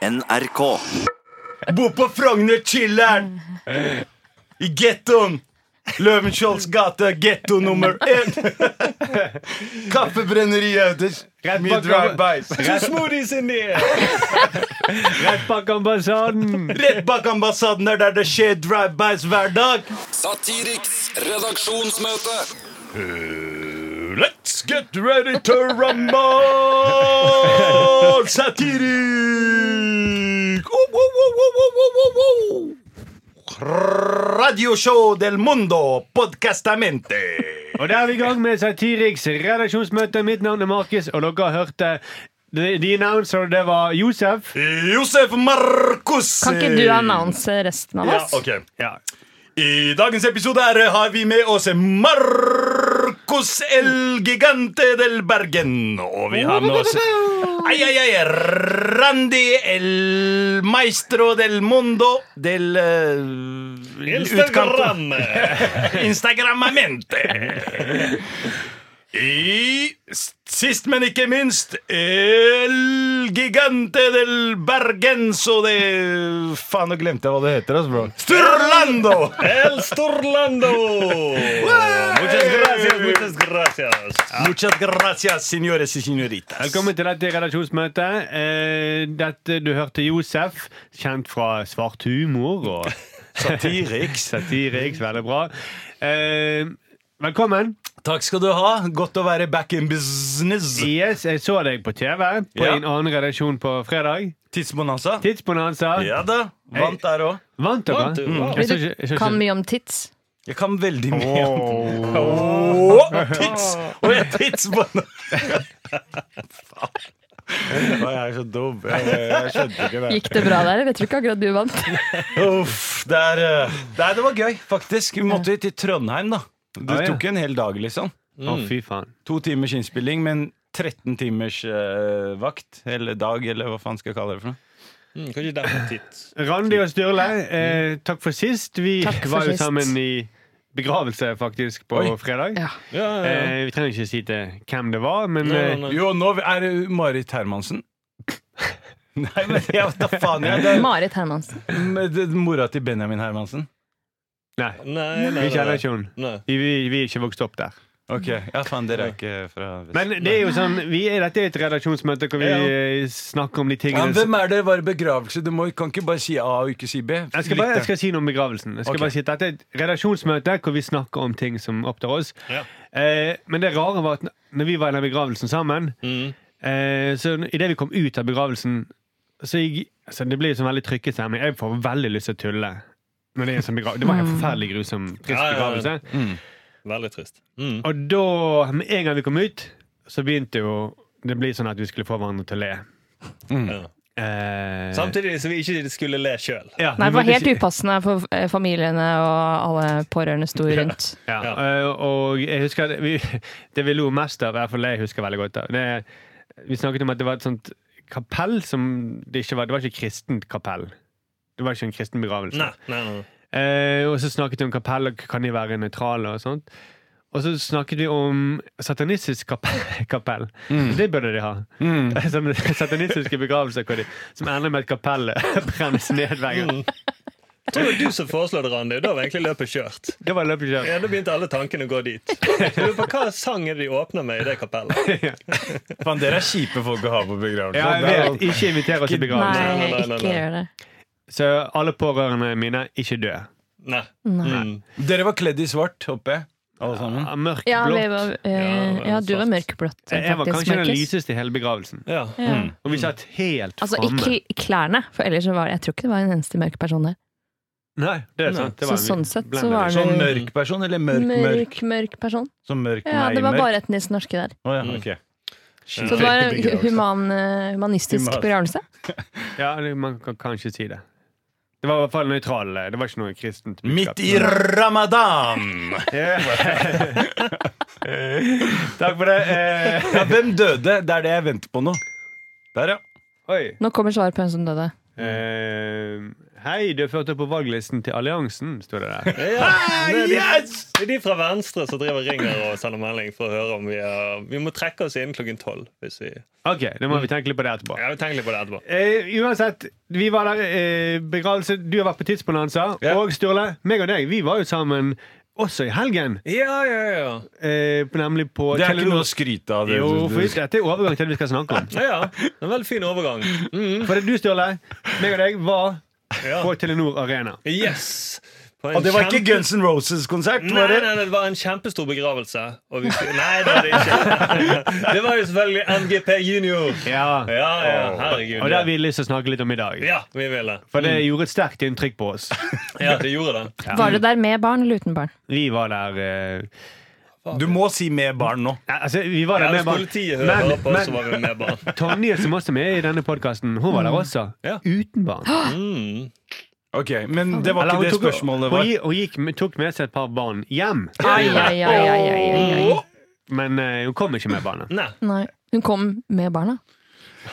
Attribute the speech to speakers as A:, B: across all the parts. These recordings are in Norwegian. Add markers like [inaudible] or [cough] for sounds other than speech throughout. A: NRK.
B: Bor på Frogner, chiller'n. I gettoen. Løvenskiolds gate, getto nummer én. Kaffebrenneri Auders.
C: Rett
B: Mye
C: bak-
B: drive-bys.
C: Two smoothies in there! Rett bak ambassaden.
B: Rett bak ambassaden er der det skjer drive-bys hver dag.
D: Satiriks redaksjonsmøte.
B: Let's get ready to rumble! Satirik! Oh, oh, oh, oh, oh, oh, oh, oh. Radio Show del Mundo Podcastamente.
C: Og der er vi i gang med Satiriks redaksjonsmøte. Mitt navn er Markus, og dere eh, hørte The the announcer, det var Josef.
B: Josef Markus.
E: Kan ikke du annonse resten av
B: Eh, Ja,
E: oss?
B: ok.
C: Ja.
B: I dagens episode her har vi med oss Marcos El Gigante del Bergen. Og vi har med oss ai, ai, ai, Randi El Maestro del Mundo del eh, utkant- Instagrammamente. I sist, men ikke minst, El Gigante del Bergenso de Faen, nå glemte jeg hva det heter. Altså, bro. Sturlando!
F: El Storlando! Muchas gracias, muchas gracias.
B: Muchas gracias, señores y señoritas.
C: Velkommen til dette redaksjonsmøtet. Eh, Dette, du hørte Josef, kjent fra svart humor og
B: [laughs] Satiriks.
C: satiriks. Veldig bra. Eh, Velkommen.
B: Takk skal du ha. Godt å være back in business.
C: Yes, jeg så deg på TV på
B: Ja.
C: din annen redaksjon på fredag.
B: Tidsbonanza.
C: Tidsbonanza.
B: Ja da. Vant der òg.
C: Vant dere? Mm.
F: Vant du?
C: Jeg
F: Wow.
E: Vil
C: så
E: du
C: ikke- jeg så ikke-
E: kan mye om tits?
B: Jeg kan veldig mye.
C: Åh.
B: Åh, tids! Og jeg tidsbonanza. Faen. Å, Jeg er så dum. Jeg, jeg skjønte ikke det.
E: Gikk det bra der? Jeg tror ikke akkurat du vant.
B: Uff, det, er, eh, nei, det var gøy, faktisk. Vi måtte til Trondheim, da. Det
C: Ah, ja.
B: tok en hel dag, liksom.
C: Å, fy faen.
B: To timers innspilling, men 13 timers eh, vakt. Eller dag, eller hva faen skal jeg kalle det for noe.
F: Mm, kanskje det er en titt.
C: Randi og Sturle, eh, takk for sist. Vi
E: Takk for
C: var jo
E: sist.
C: sammen i begravelse, faktisk, på
B: Oi.
C: fredag.
E: Ja.
F: Ja, ja, ja.
C: Eh, vi trenger ikke si til hvem det var, men
F: Nei,
C: eh,
F: nei, nei.
B: Jo, nå er det Marit Hermansen. [laughs] Nei, men jeg vet da faen. Jeg, det er
E: Marit Hermansen.
B: med- det er mora til Benjamin Hermansen.
C: nei.
F: Nei, nei,
C: Vi kjenner
F: nei.
C: ikke hun.
F: Nei.
C: Vi, vi, vi er ikke vokst opp der.
B: Ok, ja faen, dere er ikke fra vest.
C: Men det er jo sånn, vi er, dette er et redaksjonsmøte hvor vi
F: Ja.
C: eh, snakker om de
B: Ja, men
C: tingene som
B: hvem er det var i begravelse? Du må, kan ikke bare si A og ikke si B.
C: jeg skal, bare, jeg skal si noe om begravelsen. Jeg skal
B: Ok.
C: bare si at Dette er et redaksjonsmøte hvor vi snakker om ting som opptar oss.
F: Ja.
C: Eh, men det rare var at når vi var i den begravelsen sammen,
F: Mm.
C: Eh, så idet vi kom ut av begravelsen så jeg, altså Det blir jo sånn veldig trykket stemning. Jeg får veldig lyst til å tulle. Når det, er en sånn begra- det var en
E: Mm.
C: forferdelig grusom trist
F: Ja, Mm. ja, ja.
C: begravelse.
F: Veldig trist. Mm.
C: Og da, med en gang vi kom ut, så begynte jo det bli sånn at vi skulle få hverandre til å le.
F: Ja.
C: Eh,
F: Mm. Samtidig som vi ikke skulle le sjøl.
C: ja, vi
E: Nei, det var
C: måtte
E: helt
C: ikke-
E: upassende for eh, familiene og alle pårørende sto rundt.
C: Ja, eh, og jeg husker at vi, [laughs] Det vi lo mest av, i hvert fall jeg husker veldig godt av, det, Vi snakket om at det var et sånt kapell som det ikke var. Det var ikke kristent kapell. Det var ikke en kristen begravelse.
F: Nei, nei, nei.
C: Eh, og så snakket vi om kapell, og kan de være nøytrale og sånt. Og så snakket vi om satanistisk kapell. [laughs] kapell. Det burde de ha. [laughs] Som satanistiske begravelser hvor de, som ender med at kapellet [laughs] brennes ned hver gang.
F: Mm. Jeg tror det var du som foreslo det, Randi. Da var egentlig løpet kjørt.
C: Det var løpekjørt.
F: Ja, Da begynte alle tankene å gå dit. Jeg lurer på Hva sang er det de åpner med i det kapellet?
B: Faen, dere er kjipe folk å ha på begravelse.
C: Ja, jeg
B: Det er-
C: vet. Ikke inviter oss i begravelse.
F: nei,
E: Nei,
F: nei, nei,
E: ikke
F: nei.
E: gjør det.
C: Så alle pårørende mine, ikke dø.
F: Nei.
E: Nei.
F: Mm.
B: Dere var kledd i svart, håper jeg. Alle sammen.
C: Ja, Mørkt
E: Ja, vi
C: blått.
E: var, eh, ja, du var mørkeblått,
C: Jeg var
E: faktisk,
C: kanskje den Mm,
E: Markus.
C: lyseste i hele begravelsen.
F: Ja.
E: Ja.
C: Og vi
B: Mm.
C: satt helt
E: Altså
C: framme.
E: ikke i klærne, for ellers så var det Jeg tror ikke det var en eneste mørk person der.
C: Nei, det er sant. Det
E: Så
C: var en
E: sånn sett så
C: blender.
E: var det
B: Sånn mørk person, eller mørk, mørk?
E: Mørk, mørk person.
B: Sånn mørk,
E: Ja,
B: nei,
E: det var
B: mørk.
E: bare etnisk norske der.
B: Å, ja, ok.
E: Så det var en human, eh, humanistisk
B: Human.
E: begravelse.
C: Ja, det- man kan kanskje si det. Det var i hvert fall nøytral. Det var ikke noe kristent. budskap.
B: Midt i ramadan!
C: Ja. [laughs] Takk for det. Eh,
B: Ja, hvem døde? Det er det jeg venter på nå. Der, ja.
C: oi.
E: Nå kommer svar på hvem som døde.
C: Eh, Hei, du er ført opp på valglisten til alliansen, sto det der.
F: Ja, det, er de,
G: yes!
F: det er de fra Venstre som driver og ringer og sender melding for å høre om vi er, Vi må trekke oss inn klokken tolv. Hvis vi,
C: Ok, da må vi tenke litt på det etterpå.
F: jeg vil tenke litt på det etterpå.
C: Eh, uansett, vi var der eh, begravelse. Du har vært på Tidsbonanza.
F: Ja.
C: Og Sturle, meg og deg, vi var jo sammen også i helgen.
F: Ja, ja, ja.
C: Eh, nemlig på
G: Det er ikke
C: Telenor.
G: noe å skryte av. Det.
C: Jo, for dette er overgang til det vi skal snakke om.
F: Ja, ja. Det er En veldig fin overgang. Mm,
C: For det du, Sturle, meg og deg var
F: ja.
C: på Telenor Arena.
F: Yes! På en
G: Og det var ikke
F: kjempe-
G: Guns N' Roses-konsert?
F: Nei,
G: var det?
F: nei, nei, det var en kjempestor begravelse. Og vi, nei, det var det ikke. [laughs] Det var jo selvfølgelig MGP Junior.
C: Ja.
F: Ja, ja, herregud.
C: Og det har vi lyst til å snakke litt om i dag.
F: Ja, vi ville.
C: For det gjorde et sterkt inntrykk på oss.
F: Ja, det gjorde det.
E: [laughs] Var det der med barn eller uten barn?
C: Vi var der eh,
G: Du må si 'med barn' nå.
C: ja, Altså, vi var
F: Ja,
C: der
F: hvis
C: med barn.
F: politiet
C: Men-
F: hører på, så
C: men-
F: var vi med barn.
C: Tonje, som også er med i denne podkasten, hun var der også.
F: Ja.
C: Uten barn.
F: Mm.
G: Ok, Men det var
C: Eller
G: ikke
C: hun
G: det
C: tok-
G: spørsmålet var.
C: Hun, gi- hun gikk, med- tok med seg et par barn hjem,
E: Ai, ai, ai, ai, ai, ai, ai.
C: men eh, hun kom ikke med barna.
F: Nei.
E: Nei. Hun kom med barna.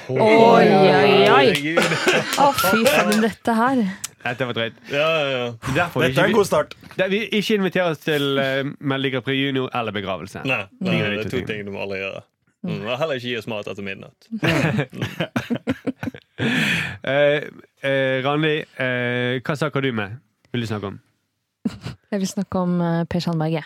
E: Oi, oi, oi!
F: Herregud.
E: Å, fy faen, dette her.
C: Dette var drøyt.
F: Ja, ja, ja.
C: Derfor
G: Dette er en
C: ikke,
G: god start.
C: vi, der, vi ikke inviterer oss til uh, Melodi Grand Prix Junior eller begravelse.
F: Nei, nei,
C: Ligger det
F: det er
C: ikke
F: to
C: til.
F: ting du må aldri gjøre. Mm. Og heller ikke gi oss mat etter midnatt.
C: Eh, eh, Randi, eh, hva sak har du med? Vil du snakke om?
E: Jeg vil snakke om eh, Per Sandberg. jeg.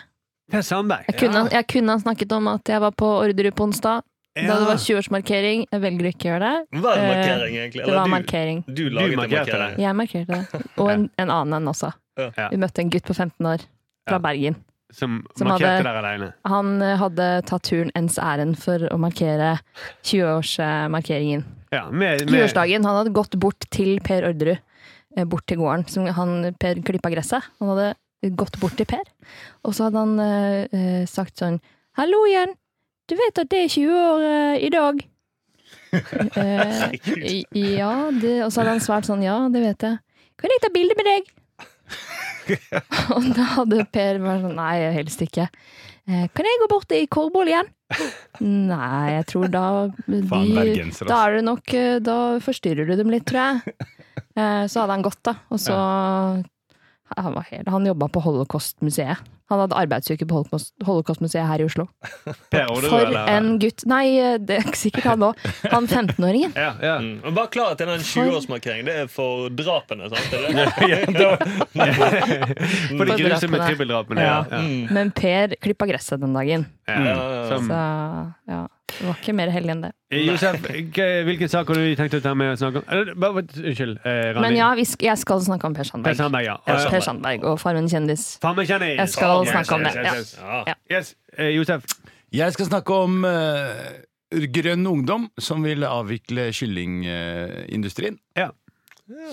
C: Per Sandberg.
E: Jeg kunne, jeg kunne ha snakket om at jeg var på Orderud på onsdag. Da det var 20-årsmarkering. Jeg velger å ikke gjøre det.
F: Hva er
E: Eh,
F: markering, egentlig?
E: Det var
F: Eller du,
E: markering.
F: du laget
C: Du
F: en
C: markerte
F: markering.
E: Jeg markerte det. Og en, en annen en også.
C: Ja.
E: Vi møtte en gutt på 15 år
C: Ja.
E: fra Bergen.
C: som,
E: Som
C: markerte
E: hadde-
C: der alene.
E: Han eh, hadde tatt turen ens ærend for å markere 20-årsmarkeringen.
C: Ja, med, med,
E: 20-årsdagen. Han hadde gått bort til Per Orderud, eh, bort til gården. Som han, per klippa gresset. Han hadde gått bort til Per, og så hadde han eh, eh, sagt sånn Hallo igjen! Du vet at det er 20 år eh, i
C: [laughs]
E: dag? Eh, i- ja, det, og så hadde han svart sånn Ja, det vet jeg. Kan jeg ta bilde med
C: [laughs]
E: deg? og da hadde Per vært sånn Nei, helst ikke. Eh, kan jeg gå bort i Korvbål
C: [laughs]
E: igjen? Nei, jeg tror da de,
G: Faen, bergenser, ass.
E: Da er det nok eh, Da forstyrrer du dem litt, tror
C: [laughs]
E: jeg. Eh, så hadde han gått, da. Og så Han, var helt- han jobba på Holocaustmuseet. Han hadde arbeidsuke på Holocaust- Holocaustmuseet her i Oslo.
C: Per Orderud,
E: For
C: eller-
E: en gutt Nei, eh, det er ikke sikkert han òg. Han 15-åringen.
C: ja, ja.
F: Mm. Men bare klar at den 20-årsmarkeringen det er for drapene, sant? Det er det?
C: For de
E: For
C: grusomme
E: drapene.
C: trippeldrapene.
E: Ja.
C: Ja.
F: Mm.
E: Men Per klippa gresset den dagen.
C: Ja.
F: Ja.
C: Som,
E: Så ja, det var ikke mer heldig enn det.
C: Eh, Josef, g- hvilken sak har du tenkt å ta med og snakke om? Eller, bare- bare- Unnskyld, eh, Randi.
E: Men ja, vi sk jeg skal snakke om Per
C: Per
E: Sandberg.
C: Sandberg, ja.
E: Ja,
C: Eh,
E: Per Sandberg og Farmen kjendis.
C: Faen meg kjenner
E: Jeg skal snakke om
C: yes,
E: det. Ja.
C: yes, yes.
F: Ja.
C: Yes, eh, Josef.
B: Jeg skal snakke om eh, Grønn Ungdom, som vil avvikle kyllingindustrien.
C: Ja.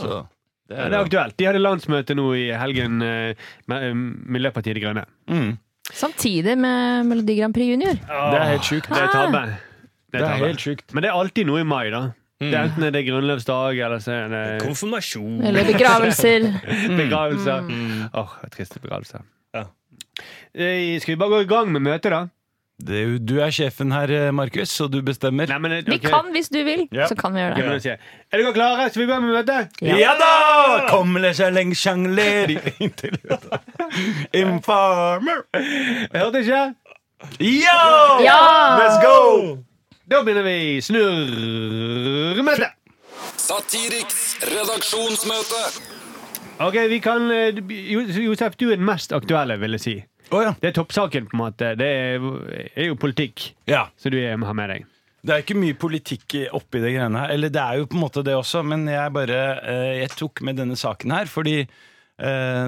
B: Så det
C: Ja,
B: er
C: det er
B: jo
C: aktuelt. De hadde landsmøte nå i helgen eh, med eh, Miljøpartiet De Grønne.
B: mm,
E: Samtidig med Melodi Grand Prix Junior.
B: Det er helt sjukt.
C: Det er tabbe. Ah. Det
B: Det
C: er
B: er
C: tabbe.
B: helt sjukt.
C: Men det er alltid noe i mai, da. Det er enten det er grunnløpsdag, eller så er det
F: Konfirmasjon.
E: Eller begravelser.
C: begravelser. Åh, triste begravelser.
F: Ja.
C: Eh, Skal vi bare gå i gang med møtet, da?
B: Det, er jo- du er sjefen her, eh, Markus, og du bestemmer.
C: Nei, men, eh,
E: Vi
C: ok.
E: kan hvis du vil, så kan vi gjøre
C: Ok,
E: det.
C: men da sier jeg, Er dere klare? Skal vi gå med møtet?
E: Ja.
G: Ja da! Kommer det seg lenge sjangleri inntil Infarmer.
C: Jeg hørte ikke?
G: Ja!
E: Ja!
G: Let's go!
C: Da begynner vi snurremøtet.
D: Satiriks redaksjonsmøte.
C: Ok, vi kan eh, du- Jo- Josef, du er den mest aktuelle, vil jeg si.
B: Å ja.
C: Det er toppsaken, på en måte. Det er, er jo politikk,
B: ja.
C: så du er- har med deg.
B: Det er ikke mye politikk i- oppi det greiene her. Eller det er jo på en måte det også, men jeg bare eh, Jeg tok med denne saken her fordi eh,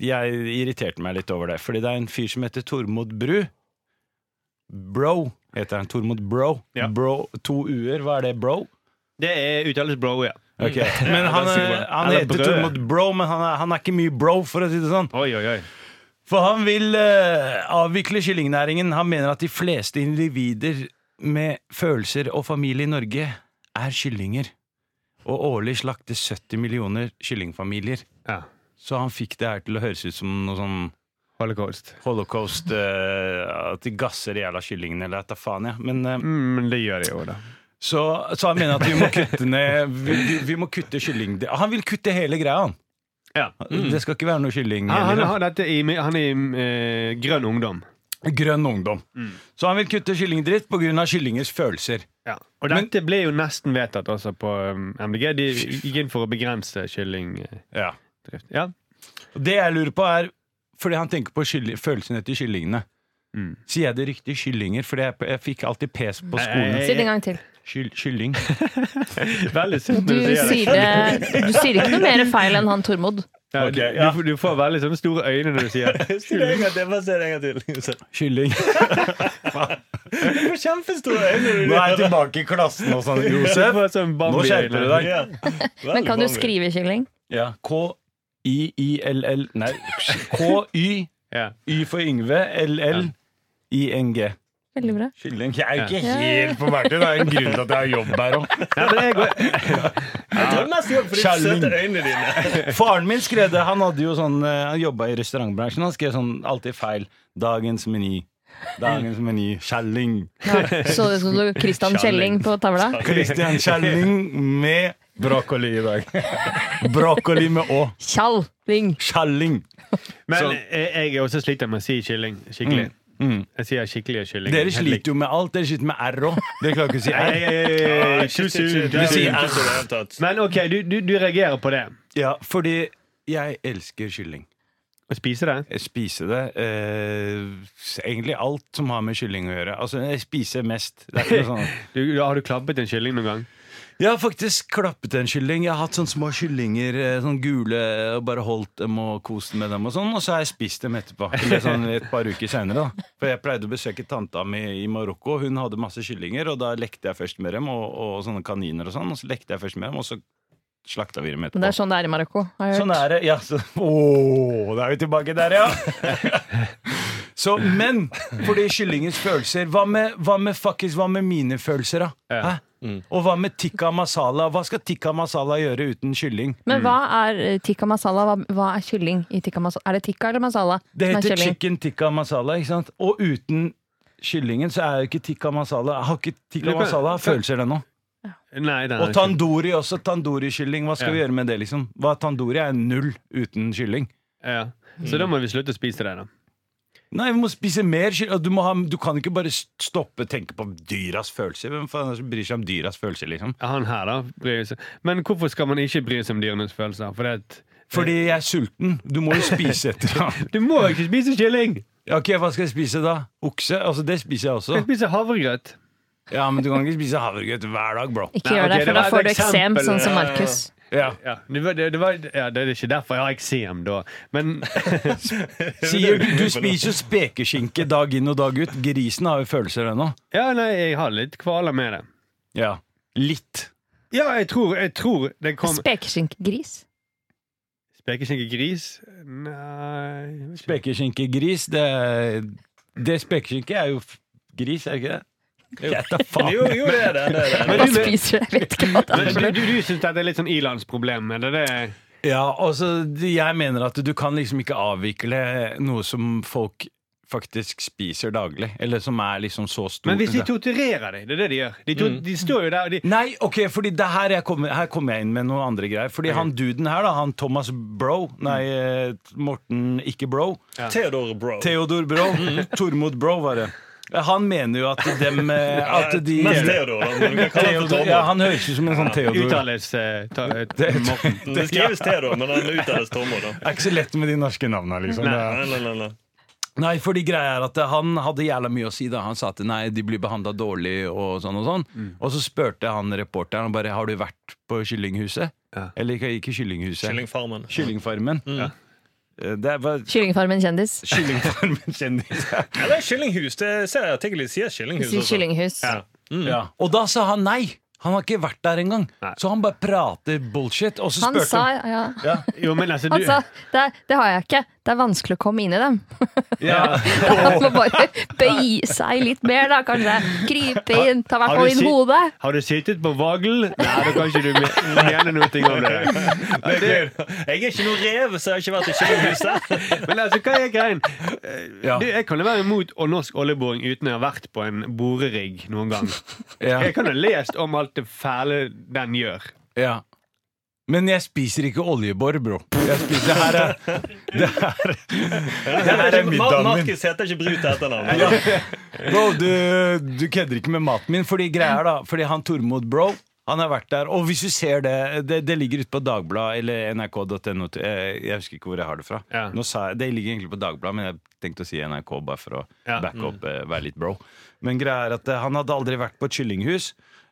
B: jeg irriterte meg litt over det. Fordi det er en fyr som heter Tormod Bru. Bro heter han. Tormod Bro.
C: Ja.
B: bro to u-er, hva er det? Bro?
C: Det er uttales bro, ja.
B: Ok, Men han,
F: sier
B: eh,
F: bro.
B: han
C: Eller
B: heter
C: brød.
B: Tormod Bro, men han er, han er ikke mye bro, for å si det sånn.
C: Oi, oi, oi.
B: For han vil eh, avvikle kyllingnæringen. Han mener at de fleste individer med følelser og familie i Norge er kyllinger. Og årlig slaktes 70 millioner kyllingfamilier.
C: Ja.
B: Så han fikk det her til å høres ut som noe sånn
C: Holocaust.
B: holocaust eh, At de gasser i hjel av kyllingene, eller at da faen, ja. Men eh,
C: Mm, Men det gjør det jo, da.
B: Så, så han mener at vi må kutte ned Vi, vi- vi må kutte kylling Han vil kutte hele greia, han.
C: Ja.
B: Det skal ikke være noe kylling.
C: Mm. Han, han,
B: lenger.
C: har dette i, han er i eh, Grønn ungdom.
B: Grønn ungdom.
C: Mm.
B: Så han vil kutte kyllingdritt pga. kyllingers følelser.
C: Ja. Og dette ble jo nesten vedtatt også på um, MDG. De gikk inn for å begrense kyllingdrift.
B: Ja.
C: Ja.
B: Og det jeg lurer på, er fordi han tenker på kylli- følelsen etter kyllingene.
C: Mm.
B: Sier jeg det riktig kyllinger? Fordi jeg, jeg fikk alltid pes på skolen.
C: Nei.
E: Si det en gang til.
B: Kyll, kylling.
C: Veldig søtt
E: Du
C: når du sier det.
E: sier, det, du sier ikke noe mer feil enn han Tormod.
C: Ja,
F: Ok,
C: du,
F: ja.
C: du, du får veldig sånne store øyne når du [laughs] sier det.
F: Si det en gang til. Bare si det en gang til.
B: [laughs] Kylling.
F: Du får kjempestore
B: Nå
F: øyne.
B: er jeg tilbake i klassen og sånn,
C: Du
B: Josef.
C: får sånn
B: Nå skjerper du
C: Bambi-øyne.
B: deg.
E: Men kan du skrive kylling?
B: Ja. K-I-I-L-L Nei, K-Y.
C: Ja.
B: Y for Yngve. L-L. I-N-G.
E: Veldig bra.
B: Kylling. Jeg er ikke
E: Ja.
B: helt på verktøy. Det er en grunn til at jeg har jobb her òg.
C: Nei, men jeg
B: [laughs]
C: går,
F: Jeg tror mest jobb for de
B: Kjelling.
F: søte øynene dine.
B: Faren min skrev det. Han hadde jo sånn eh, Han jobba i restaurantbransjen. Han skrev sånn alltid feil. Dagens meny. Dagens meny. Kjelling.
E: Så det som du Christian Kjelling på tavla?
B: Christian Kjelling med brokkoli i [laughs] dag. Brokkoli med Å.
E: Kjalling!
B: Kjelling.
C: men
B: Så- Mm.
C: jeg, jeg er også sliter med å si kylling. Skikkelig. Jeg sier skikkelig kylling.
B: Dere sliter jo med alt. Dere sliter med R òg. Dere klarer ikke å si R.
F: Nei,
C: Too
F: shit, shit, shit.
C: soon.
F: Det er
B: sier-
F: ikke det i det hele tatt.
C: Men OK, du, du, du reagerer på det.
B: Ja, fordi jeg elsker kylling.
C: Å spise det?
B: Jeg spiser det. Eh, egentlig alt som har med kylling å gjøre. Altså, jeg spiser mest. Det er ikke noe sånn
C: Du, har du klabbet en kylling noen gang?
B: Jeg har faktisk klappet en kylling. Jeg har hatt sånne små kyllinger, eh, sånn gule, og bare holdt dem og kost med dem, og sånn, og så har jeg spist dem etterpå. Eller sånn et par uker senere, da. For jeg pleide å besøke tanta mi i Marokko, hun hadde masse kyllinger, og da lekte jeg først med dem, og, og sånne kaniner og sånn, og så lekte jeg først med dem, og så slakta vi dem
E: Men det
B: etterpå.
E: er sånn det er i Marokko. Har jeg hørt.
B: Sånn er det. Ja, så, åh, da er vi tilbake der, ja! [laughs] Så, men fordi kyllingens følelser Hva med, hva med, faktisk, hva med mine følelser, da? Hæ? Og hva med tikka masala? Hva skal tikka masala gjøre uten kylling?
E: Men hva er eh, tikka masala? Hva, hva er kylling i tikka masala? Er det tikka eller masala
B: Det
E: som er
B: heter
E: kylling?
B: chicken tikka masala, ikke sant? Og uten kyllingen så er jo ikke tikka masala Har ikke tikka
C: Men-
B: masala følelser, det nå?
C: Nei, den
B: Og tandori også. Tandori-kylling. Hva skal
C: Ja.
B: vi gjøre med det, liksom? Hva Tandori er null uten kylling.
C: Ja. Så da må vi slutte å spise det, da.
B: Nei, vi må spise mer kylling. Og Du, må ha, du kan ikke bare stoppe og tenke på dyras følelser. Hvem faen er det som bryr seg om dyras følelser, liksom?
C: Han her, da. Bryr seg. Men hvorfor skal man ikke bry seg om dyrenes følelser? For det, at-
B: Fordi jeg er sulten. Du må jo spise et eller
C: [laughs]
B: annet.
C: du må ikke spise kylling!
B: Ja, Ok, hva skal jeg spise da? Okse? Altså, det spiser jeg
C: Du
B: også.
C: kan spise havregrøt.
B: Ja, men du kan ikke spise havregrøt hver dag, bro.
E: Ikke
C: Nei,
E: gjør det,
C: ok, det
E: for da
C: var et
E: får du eksem,
C: eksempel.
E: sånn som
F: Ja, ja, ja.
E: Markus.
B: Ja.
C: Ja, det, var, det, det, var, ja, det er ikke derfor jeg har eksem, da. Men
B: Sier du, du spiser jo spekeskinke dag inn og dag ut. Grisen har jo følelser ennå.
C: ja, nei, jeg har litt kvaler med det.
B: Ja. Litt.
C: Ja, jeg tror, jeg tror det kom
E: Spekeskinkegris.
C: Spekeskinke gris? Nei jeg vet ikke.
B: Spekeskinke-gris, det, det spekeskinke er jo f- gris, er det ikke det? Jeg vet da
F: Jo,
B: faen.
F: jo, det er det. det, er det.
C: Men
E: Hva
C: du-
E: spiser du? Jeg vet ikke hva det er.
C: Men du, du, du syns dette er litt sånn ilandsproblem? Er det det?
B: Ja, altså, jeg mener at du kan liksom ikke avvikle noe som folk faktisk spiser daglig, eller som er liksom så stort.
C: Men hvis de torturerer deg, det er det de gjør. De, to, de står jo der og de
B: Nei, ok, fordi det her, jeg kommer, her kommer jeg inn med noen andre greier. Fordi han duden her, da, han Thomas Bro Nei, eh, Morten ikke Bro.
F: Theodor, bro.
B: Theodor Bro. Tormod Bro, var det. Han mener jo at dem eh, At de
F: Mest Theodor. da, men vi kan kalle han for
B: Theodor, ja,
F: Tormod.
B: Han høres ut som en sånn [laughs] Theodor.
C: uttales eh, ta, eh, Morten.
F: Det skrives Theodor, men han uttales Tormod. da.
B: Det er ikke så lett med de norske navna, liksom. Det er-
F: Nei, nei, nei, nei.
B: Nei, for de greia er at han hadde jævla mye å si da Han sa at nei, de blir behandlet dårlig og sånn og sånn
C: Mm.
B: Og så spørte han reporteren bare, Har du vært på kyllinghuset?
C: Ja.
B: Eller ikke, ikke kyllinghuset
F: Kyllingfarmen.
B: Kyllingfarmen Eh, Det var
E: Kyllingfarmen kjendis.
B: kyllingfarmen
C: [laughs]
B: kjendis
F: Eller kyllinghus. Det ser jeg at Tiggeli sier
E: Vi
F: kyllinghus. sånn.
E: sier
F: også.
E: kyllinghus.
F: Ja.
B: ja. Og da sa han nei Han har ikke vært der engang
C: Nei.
B: Så han bare prater bullshit Og så
E: Han
B: spurte
E: sa
B: han
E: ja.
C: Jo, men altså, du,
E: Han sa det, det har jeg ikke. Det er vanskelig å komme inn i dem.
C: Ja.
E: Man må bare bøye seg litt mer, da, kanskje. Krype inn, ta hvert
C: Har
E: fall
C: du
E: inn
C: sett-
E: hodet.
C: Har du sittet på vagl? Nei, da kan ikke du me- mene noe om det.
F: Jeg er ikke noe rev, så jeg har ikke vært i kjøkkenhuset.
C: Men altså, hva er greien?
B: Ja.
C: Du, jeg kan jo være imot å- norsk oljeboring uten å ha vært på en borerigg noen gang.
B: Ja.
C: Jeg kan ha lest om alt det fæle den gjør.
B: Ja. Men jeg spiser ikke oljebor, bro. Jeg spiser, det her er, det her, det her er middagen min.
F: Markus heter ikke Brut til etternavn.
B: Bro, du, du kødder ikke med maten min. Fordi greier da Fordi han Tormod Bro han har vært der, og hvis du ser det Det, det ligger ute på Dagbladet eller nrk.no. Jeg, eh, jeg husker ikke hvor jeg har det fra.
C: Ja.
B: Nå sa jeg, det ligger egentlig på Dagbladet, men jeg tenkte å si NRK bare for å
C: Ja. Mm.
B: backe opp, eh, være litt bro. Men greia er at eh, han hadde aldri vært på et kyllinghus.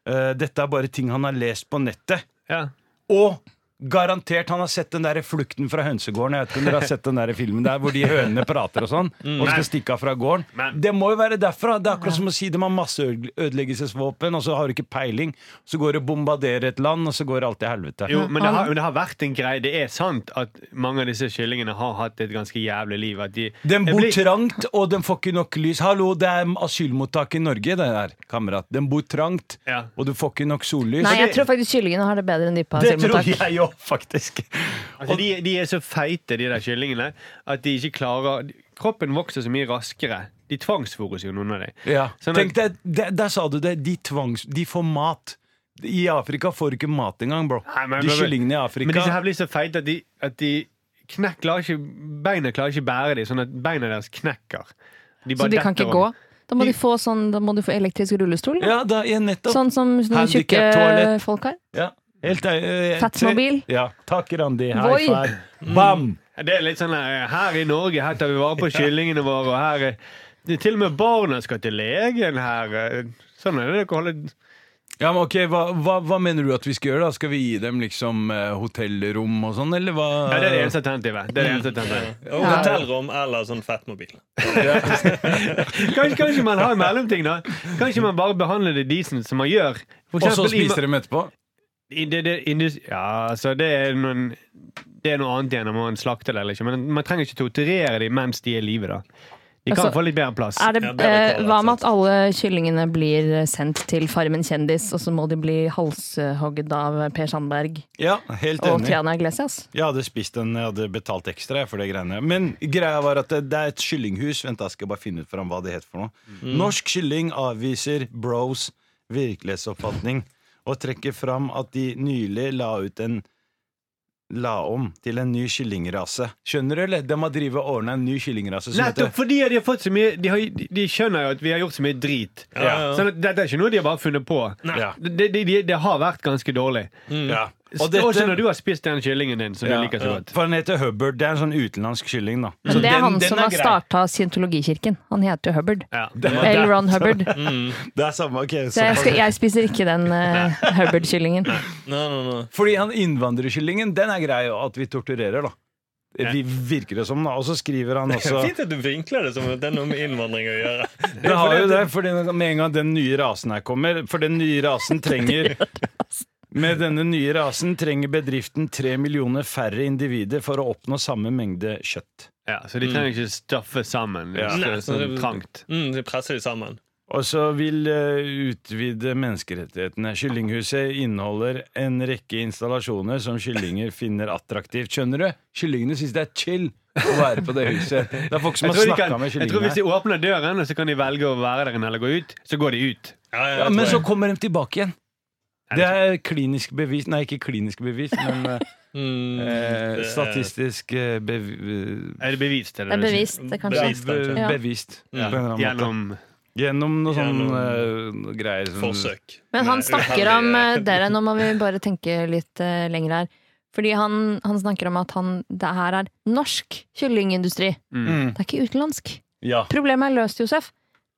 B: Eh, dette er bare ting han har lest på nettet.
C: Ja.
B: Og garantert han har sett den der flukten fra hønsegården. Jeg vet ikke om dere har sett den der filmen der hvor de hønene prater og sånn. Og skal stikke av fra gården.
C: Men-
B: Det må jo være derfra. Det er akkurat som å si de har masseødeleggelsesvåpen, og så har du ikke peiling. Så går det og bombarderer et land, og så går alt til helvete.
C: Jo, men det, har, men det har vært en greie. Det er sant at mange av disse kyllingene har hatt et ganske jævlig liv. At de,
B: Den
C: Jeg
B: bor
C: blir- [laughs]
B: trangt, og den får ikke nok lys. Hallo, det er asylmottak i Norge, det der, kamerat. Den bor trangt,
C: Ja.
B: og du får ikke nok sollys.
E: Nei, jeg tror faktisk kyllingene har det bedre enn de på
B: det tror
E: asylmottak.
B: jeg òg, faktisk.
C: Altså, de, de er så feite, de der kyllingene, at de ikke klarer Kroppen vokser så mye raskere. De tvangsfôres jo, noen av dem.
B: Ja.
C: Sånn at-
B: Tenk deg, der, der sa du det. De, tvangs, de får mat. I Afrika får du ikke mat engang, bro.
C: Nei, men-
B: de
C: men-
B: kyllingene i
C: Men disse
B: Afrika.
C: her blir så feite at de, at de knekk, klarer ikke, beina klarer ikke bære dem, sånn at beina deres knekker.
E: Så de kan ikke gå. Da må
C: De-
E: de få, sånn, da må de få elektrisk rullestol. da.
B: Ja, da, ja, nettopp.
E: Sånn som sånne tjukke
B: Handicap-toalett.
E: folk har.
B: Ja. Helt, eh,
E: Fatmobil.
B: tre- Ja. Takk, Randi. High
E: Voi.
B: five.
C: Mm.
B: Bam!
C: Det er litt sånn her, her i Norge, her tar vi
B: [laughs]
C: vare på kyllingene våre, og her er- det er Til og med barna skal til legen her. Sånn er det dere holder
B: Ja, men ok, hva, hva, hva mener du at vi skal gjøre? da? Skal vi gi dem liksom eh, hotellrom og sånn, eller hva?
C: ja, Det er det eneste alternativet. Det er det eneste alternativet.
F: Og hotellrom eller sånn fettmobil.
C: Kanskje, kanskje man har en mellomting, da. Kanskje man bare behandler det decent som man gjør.
B: Og
C: For
B: så
C: eksempel i-
B: spiser dem etterpå?
C: I det, det, indus- ja, altså det er noen Det er noe annet igjen om man slakter det eller ikke. Men man trenger ikke torturere dem mens de er i live. da. De kan
E: Altså,
C: få litt bedre plass.
E: Er det,
F: Ja, bedre
E: eh,
F: kvalitet,
E: hva med at
F: sant.
E: alle kyllingene blir sendt til Farmen kjendis, og så må de bli halshogd av Per Sandberg
B: Ja, helt
E: og
B: enig.
E: Tiana Iglesias?
B: Jeg hadde spist den, jeg hadde betalt ekstra jeg, for det greiene. Men greia var at det, det er et kyllinghus. Vent, da skal jeg bare finne ut fram hva det heter for noe. Norsk kylling avviser bros virkelighetsoppfatning og trekker fram at de nylig la ut en La om til en ny kyllingrase. Skjønner du, eller? De har drive og ordna en ny kyllingrase som heter
C: Nettopp fordi de har fått så mye de, har, de skjønner jo at vi har gjort så mye drit.
F: Ja.
C: Sånn at dette er ikke noe de har bare funnet på.
B: Ja.
C: Det, det, det, det har vært ganske dårlig.
B: ja.
C: Og
B: Mm. dette-
C: Også når du har spist den kyllingen din som
B: Ja,
C: du liker så
B: ja.
C: godt.
B: For den heter Hubbard. Det er en sånn utenlandsk kylling, da. Så
E: Men det er
B: den-
E: han
B: den
E: som
B: er
E: har
B: grei.
E: starta scientologikirken. Han heter jo Hubbard.
B: [laughs]
C: Ja.
E: L. Ron Hubbard.
B: Mm. Det er samme, ok.
E: Så jeg,
B: såpass.
E: skal, jeg spiser ikke den eh, Hubbard-kyllingen.
F: Nei, nei, nei.
B: Fordi han innvandrerkyllingen, den er grei at vi torturerer, da. Vi virker det som, da. Og så skriver [laughs] han
F: Det
B: også
F: er Fint at du vinkler det som at det er noe med innvandring å gjøre.
B: Det har jo det, fordi med en gang den nye rasen her kommer For den nye [laughs] rasen trenger altså. Med denne nye rasen trenger bedriften tre millioner færre individer for å oppnå samme mengde kjøtt.
C: Ja, så de trenger ikke staffe sammen.
B: Ja.
C: hvis det
F: Nei,
C: er sånn
F: så-
C: trangt.
F: Mm, de presser de sammen.
B: Og så vil eh, utvide menneskerettighetene. Kyllinghuset inneholder en rekke installasjoner som kyllinger finner attraktivt. Skjønner du? Kyllingene syns det er chill å være på det huset. Det er folk som
C: Jeg
B: har
C: tror, de
B: snakka
C: kan,
B: med
C: jeg tror
B: kyllingene.
C: Hvis de åpner døren, og så kan de velge å være der inne eller gå ut, så går de ut.
F: Ja, ja,
B: Ja,
F: jeg
B: men
F: tror
B: så
F: jeg.
B: kommer de tilbake igjen. Det er klinisk bevis Nei, ikke klinisk bevis, men eh,
F: Mm,
B: eh,
F: det er-
B: statistisk eh, bev eh,
C: Er det bevis til
E: Det er bevist, det kanskje.
F: Bevist.
B: be-
E: Ja.
B: bevist.
F: Ja.
B: På en eller annen måte.
C: Gjennom
B: Gjennom noe sånn
F: Gjennom
B: eh, greier. som-
F: Forsøk.
E: Men han
F: Med
E: snakker
F: uheldige-
E: om eh, Dere, nå må vi bare tenke litt eh, lenger her. Fordi han, han snakker om at han, det her er norsk kyllingindustri.
B: Mm.
E: Det er ikke utenlandsk.
B: Ja.
E: Problemet er løst, Josef.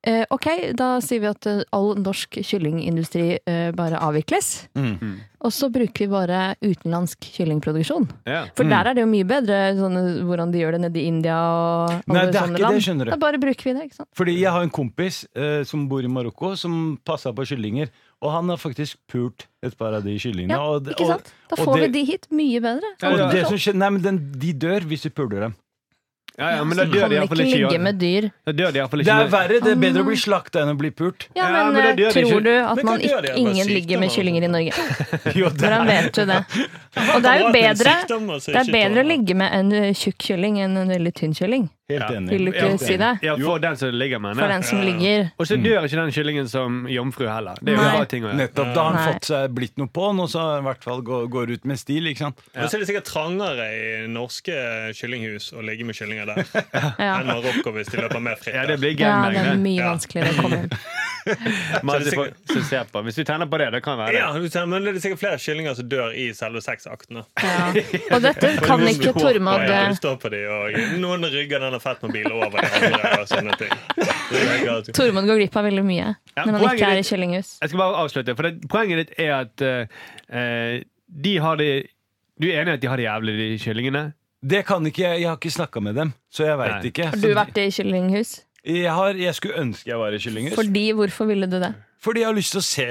E: Eh, ok, da sier vi at eh, all norsk kyllingindustri eh, bare avvikles.
B: Mm.
E: Og så bruker vi bare utenlandsk kyllingproduksjon.
C: ja.
E: For der er det jo mye bedre sånne, hvordan de gjør det nede i India og alle
B: Nei, det er
E: sånne
B: ikke
E: land.
B: det, skjønner du.
E: Da bare bruker vi det, ikke sant.
B: Fordi jeg har en kompis eh, som bor i Marokko, som passer på kyllinger. Og han har faktisk pult et par av de kyllingene.
E: Ja,
B: og,
E: ikke sant? Da
B: og
E: får vi
B: det-
E: de hit mye bedre.
B: Og,
C: Ja,
B: og det som skjer, nei, men den, de dør hvis du puler dem.
C: Ja, ja, men
E: Så
C: da dør de
E: kan vi
C: iallfall
E: ikke
C: ikke
E: ligge
C: gjør-
E: med dyr.
C: Da dør de iallfall
B: Det
C: ikke
B: er
C: med-
B: verre. Det er bedre å
E: Mm.
B: bli slakta enn å bli pult.
E: Ja,
C: Ja,
E: men,
C: men det
E: eh,
C: gjør de
E: tror
C: ikke.
E: du at
F: Men hva
E: man
F: gjør de?
E: ikke,
F: Bare
E: ingen ligger med
F: sykdommer,
E: kyllinger i Norge?
B: [laughs] Jo, det
E: Hvordan vet du det? Og det er jo bedre, det er bedre å ligge med en eh, tjukk kylling enn en veldig tynn kylling.
B: er helt enig.
E: Vil du ikke
C: Ja,
E: si det?
C: Ja, for den som ligger med
E: For
C: den.
E: den som ligger
C: Og så dør ikke den kyllingen som jomfru heller. Det er jo
E: Nei.
C: bra ting å gjøre.
B: Nettopp. Da har han
E: Nei.
B: fått seg blitt noe på han, og så i hvert fall går, går ut med stil. ikke sant?
F: Og så er det sikkert trangere i norske kyllinghus å ligge med
E: [laughs]
F: kyllinger der
E: Ja,
F: enn Marokko hvis de løper mer fritt.
C: Ja,
F: der.
C: det blir
E: ja det er
C: gangbang, det.
E: mye
F: Ja.
E: vanskeligere å komme inn.
C: Masse
F: Så det er
C: folk som ser på. Hvis du tenner på det, det kan være det.
F: Ja, du ser, men det er sikkert flere kyllinger som dør i selve sexakten. da.
E: Ja. Og dette kan
F: Noen
E: ikke
F: står på-
E: Tormod eh,
F: ja, du står på de, og Noen rygger denne fettmobilen over de andre. og sånne ting. Så det er galt.
E: Tormod går glipp av veldig mye
C: Ja,
E: når han ikke
C: poenget
E: er i
C: ditt-
E: kyllinghus.
C: Jeg skal bare avslutte. For det, poenget ditt er at eh, eh, de har det Du er enig i at de har det jævlig, de kyllingene?
B: Det kan ikke jeg. Jeg har ikke snakka med dem, så jeg veit
C: Nei.
B: ikke.
E: Har
B: Så
E: du vært i kyllinghus?
B: Jeg, har, jeg skulle ønske jeg var i kyllinghus. Fordi,
E: Fordi, hvorfor ville du det?
B: jeg har lyst til å se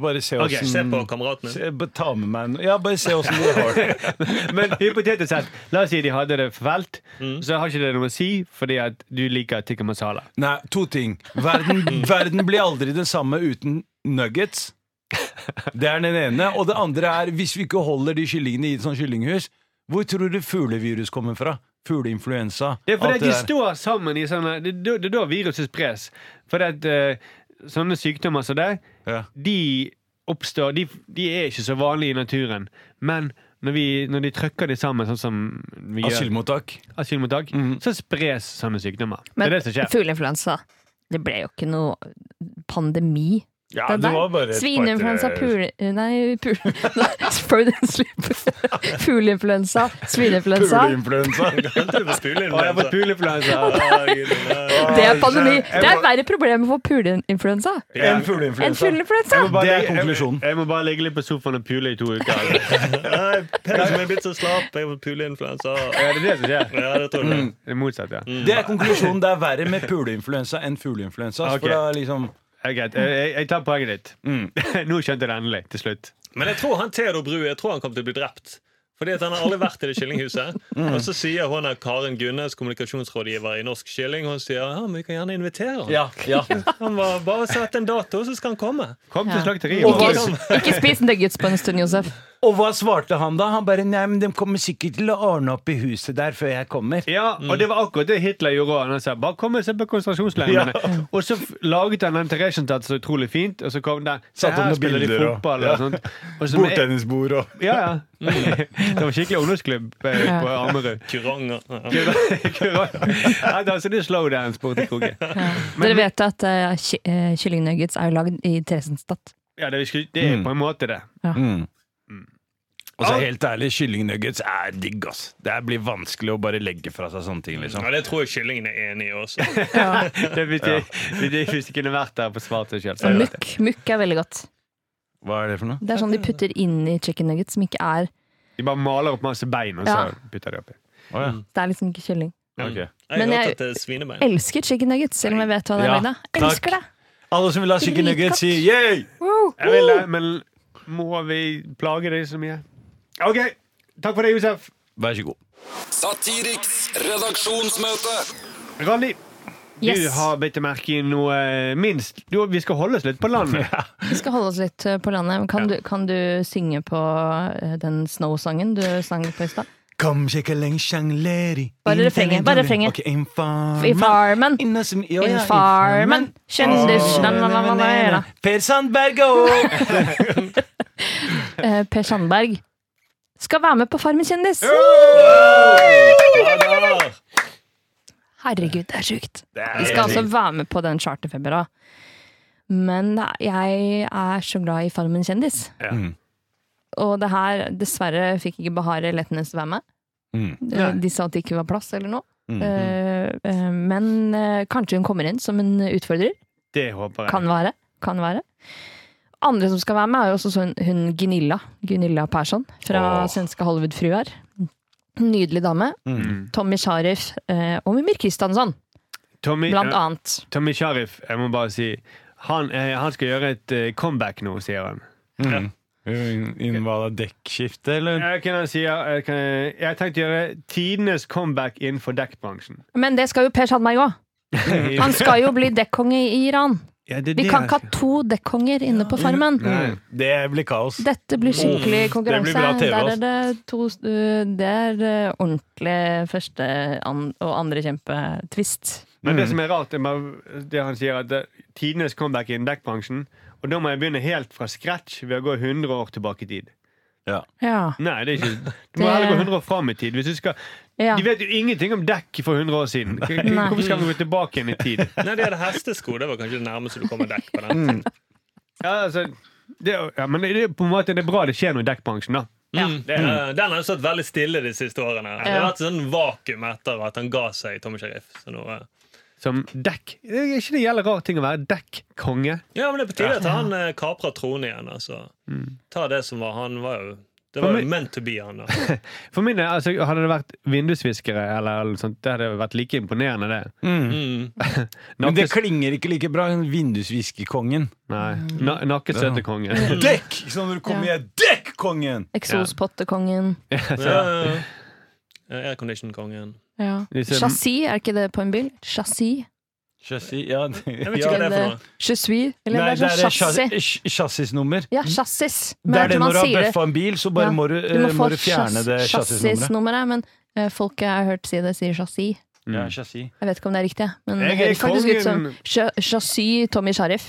B: Bare se
F: Ok,
B: åssen
F: Se på kameraten min.
B: Ta med meg en Ja, bare se åssen de har
C: [laughs]
B: det.
C: Men hypotetisk sett, la oss si de hadde det fælt, så har ikke det noe å si fordi at du liker tikka masala.
B: Nei, to ting. Verden,
C: Mm.
B: verden blir aldri den samme uten nuggets. Det er den ene. Og det andre er, hvis vi ikke holder de kyllingene i et sånt kyllinghus, hvor tror du fuglevirus kommer fra? Fugleinfluensa?
C: Det er fordi
B: alt
C: at eh, de
B: der.
C: står sammen i sånne Det det- det er da viruset spres. Fordi at eh, sånne sykdommer som det,
B: Ja.
C: de oppstår de, de er ikke så vanlige i naturen. Men når, vi, når de trykker de sammen, sånn som vi gjør
B: Asylmottak. Mm.
C: asylmottak, så spres sånne sykdommer. det
E: Men
C: er det som skjer.
E: fugleinfluensa, det ble jo ikke noe pandemi.
B: Ja,
E: Det der. Svineinfluensa, pule... Nei, pule... [laughs] Frozen sleep. Fugleinfluensa, svineinfluensa. [laughs]
B: Fugleinfluensa.
F: Venter du på
C: Å,
F: spuleinfluensa?
C: jeg har fått puleinfluensa!
F: Å, Gud, nei.
E: Det er pandemi. Det er verre problem for fugleinfluensa
B: En
E: enn
B: fugleinfluensa.
E: fugleinfluensa!
B: Det er konklusjonen.
C: Jeg, jeg må bare ligge litt på sofaen og pule i to
B: [laughs]
C: uker. altså.
F: Nei, Peder som er blitt så slapp. Jeg har fått puleinfluensa.
C: Ja, det er det som skjer.
F: Ja, det tror jeg.
C: Det er motsatt, ja.
B: Det er konklusjonen. Det er verre med fugleinfluensa enn fugleinfluensa.
C: Ok.
B: For da liksom
C: Ja, greit. Jeg, jeg, jeg tar poenget ditt.
B: Mm.
C: [laughs] Nå skjønte jeg det endelig, til slutt.
F: Men jeg tror han Theodor Bru jeg tror han kommer til å bli drept. Fordi at Han har aldri vært i det [laughs] kyllinghuset. Og så sier hun her Karen Gunnes, kommunikasjonsrådgiver i Norsk Kylling, hun sier ja, men vi kan gjerne invitere han.
B: Ja. ja.
F: [laughs] Han var bare sett en dato, så skal han komme.
C: Kom til
E: Ja.
C: slakteriet.
B: Og
E: Ikke,
C: Markus.
E: ikke spis nuggets på en stund, Josef.
B: Og hva svarte han da? Han bare 'nei, men de kommer sikkert til å ordne opp i huset der før jeg kommer'.
C: Ja,
B: Mm.
C: og det var akkurat det Hitler gjorde. Han sa bare kom og se på konsentrasjonsleirene. Og så f- laget han den Theresienstadt så utrolig fint, og så kom den Se
B: Satt opp
C: her
B: noen
C: spiller de
B: bilder og-
C: fotball
B: ja.
C: og sånt. Og så-
B: Bordtennisbord og
C: Ja, ja. Det var skikkelig ungdomsklubb eh, på
B: [laughs]
C: Ammerud.
F: Kuranger. Ja.
C: Nei, da, så det er slowdance borti kroken.
E: Dere vet at eh, ky- eh, kyllingnuggets er jo lagd i Theresienstadt.
C: Ja, det er, sku- det
B: Mm.
C: er på en måte det.
B: Og så helt ærlig, kyllingnuggets er digg, ass. Det blir vanskelig å bare legge fra seg sånne ting, liksom.
F: Ja, det tror jeg kyllingen er enig i [laughs] også.
C: det er hvis, de, hvis de- hvis de kunne vært der og forsvart seg sjøl.
E: Og mukk. Mukk er veldig godt.
B: Hva er det for noe?
E: Det er sånn de putter inn i chicken nuggets som ikke er
C: De bare maler opp masse bein, og så putter de oppi.
B: Å ja.
E: Det er liksom ikke kylling.
B: Ok.
F: Jeg har
E: Men jeg-
F: hørt at det er svinebein.
E: Elsker chicken nuggets, selv om jeg vet hva det er
B: Ja,
E: lagd av.
B: takk.
E: Elsker det!
B: Alle som vil ha chicken nuggets, sier yeah!
E: Wow.
C: Jeg vil det, men må vi plage deg så mye? OK. Takk for det, Josef.
B: Vær så god.
D: Satiriks redaksjonsmøte.
C: Randi,
E: Yes.
C: du har bitt deg merke i noe eh, minst. Du, vi skal holde oss litt på
E: [laughs]
C: landet.
E: Vi skal holde oss litt eh, på landet. Men Kan, du, kan du synge på eh, den Snow-sangen du sang på i stad?
B: Kom, kjekkeling, sjanglering
E: Bare refrenget, bare refrenget.
B: Ok, in farmen.
E: I Farmen!
B: Inne som- ja, ja,
E: I Farmen! Kjendis na, na, na, na, na, na.
B: Per Sandberg og
E: [laughs] Eh, Per Sandberg skal være med på Farmen kjendis!
F: Ja, da!
E: Herregud, det er sjukt. Vi skal altså være med på den charterfeber òg. Men jeg er så glad i Farmen kjendis. Og det her, dessverre fikk ikke Bahareh Letnes være med. Eh, De sa at det ikke var plass eller noe. Eh, eh, Men eh, kanskje hun kommer inn som en utfordrer.
C: Det håper jeg.
E: Kan være. Kan være. Andre som skal være med, er jo også sånn, hun Gunilla. Gunilla Persson fra svenske Hollywood-fruer. Nydelig dame. Tommy Sharif eh, og Mimir Kristiansson,
C: Tommy,
E: blant
C: eh,
E: annet.
C: Tommy Sharif, jeg må bare si han, eh, han skal gjøre et eh, comeback nå, sier han.
B: Innvalg av dekkskifte,
E: Mm.
B: eller?
C: Jeg, Eh, kan si, jeg, kan, jeg tenkte å gjøre tidenes comeback innenfor dekkbransjen.
E: Men det skal jo Per Sandberg
B: [laughs]
E: òg. Han skal jo bli dekkonge i Iran.
C: Ja, det er
E: Vi
C: det-
E: kan ikke ha to dekkonger inne på Farmen.
C: Nei.
B: Det blir kaos.
E: Dette blir skikkelig konkurranse.
B: det blir bra TV,
E: Der
B: altså.
E: er det to øh, Det er øh, ordentlig første an og andre kjempetvist.
C: Men det som er rart, er bare det han sier, at det- tidenes comeback innen dekkbransjen. Og da må jeg begynne helt fra scratch ved å gå 100 år tilbake i tid.
E: Ja.
C: Nei, det er
E: [laughs]
C: ikke Du må
E: Det-
C: heller gå 100 år fram i tid. Hvis du skal,
E: Ja.
C: De vet jo ingenting om dekk for 100 år siden. K-
E: Nei.
C: [laughs] Hvorfor skal vi gå tilbake igjen i tid?
F: Nei, de hadde hestesko. Det var kanskje det nærmeste du kommer dekk på den.
C: Ja, altså, det, er jo- ja, men det, er på en måte det er bra det skjer noe i dekkbransjen, da.
F: Mm. Det, eh, den har jo stått veldig stille de siste årene. Det har
E: Ja.
F: vært sånn vakuum etter at han ga seg, Tommy Sheriff. Så nå, eh,
C: Som dekk. Det er ikke det jævla rar ting å være dekkonge?
F: ja, men det er på tide at han eh, kaprer tronen igjen. Altså. Ta det som var han var jo Det
C: For
F: var
C: meg-
F: jo meant to be, han. da.
C: For min del, altså, hadde det vært vindusviskere eller noe sånt, det hadde vært like imponerende, det. [laughs]
F: Mm.
B: Men det
C: Nakkes-
B: klinger ikke like bra. Vindusviskekongen.
C: Nei. Na Nakkestøtekonge.
B: [laughs] Dekk! Sånn når du kommer igjen. Dekk, kongen!
E: Eksospottekongen.
F: Ja. Eh, Aircondition-kongen.
E: Ja.
C: Disse-
E: Chassis, er ikke det på en bil? Chassis?
B: Chassis Ja, det- [laughs]
F: Jeg
B: Nei,
F: vet ikke hva det er for
E: Eller-
F: noe.
E: Je suis? Eller
B: det
E: det er
B: er
E: sånn chassis.
B: chassis- chassisnummer.
E: Ja, chassis.
B: Det er
E: jeg
B: det
E: tror man
B: når du har
E: sier det.
B: bøffa en bil, så bare
E: Ja.
B: må du,
E: Du må
B: eh,
E: få
B: må du fjerne
E: chass-
B: det chassisnummeret.
E: chassisnummeret, men eh, folket jeg har hørt si det, sier chassis.
B: Ja, chassis.
E: Jeg vet ikke om det er riktig, men det
C: Jeg er
E: høres faktisk ut som
C: kongen.
E: cha- chassis Tommy Sheriff.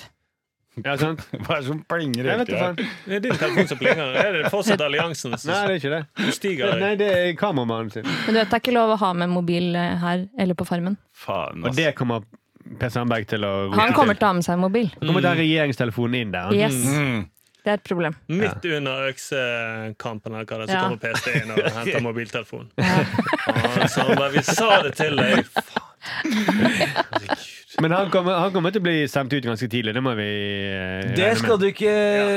C: Ja, sant?
B: [laughs] Hva er det som plinger
C: Jeg vet ikke,
B: her?
C: faen.
F: Det er din telefon som plinger. Er det fortsatt alliansen
C: Nei,
F: som
C: det er ikke det.
F: stiger?
C: Nei, det er kameramannen sin.
E: Men du vet, det er ikke lov å ha med mobil eh, her eller på farmen.
B: Faen,
C: Og
B: ass.
C: det kommer Per Sandberg til å
E: Han kommer til å ha med seg en mobil.
C: Da kommer den regjeringstelefonen inn der.
E: Yes,
B: Mm.
E: Det er
C: [laughs]
E: et problem.
F: Midt under øksekampen eller hva det er, så
E: Ja.
F: kommer PST inn og henter mobiltelefonen. Faen, Sandberg, vi sa det til deg! Faen. Herregud.
C: Men han kommer, han kommer til å bli stemt ut ganske tidlig. Det må vi eh,
B: Det
C: regne
B: skal
C: med.
B: du ikke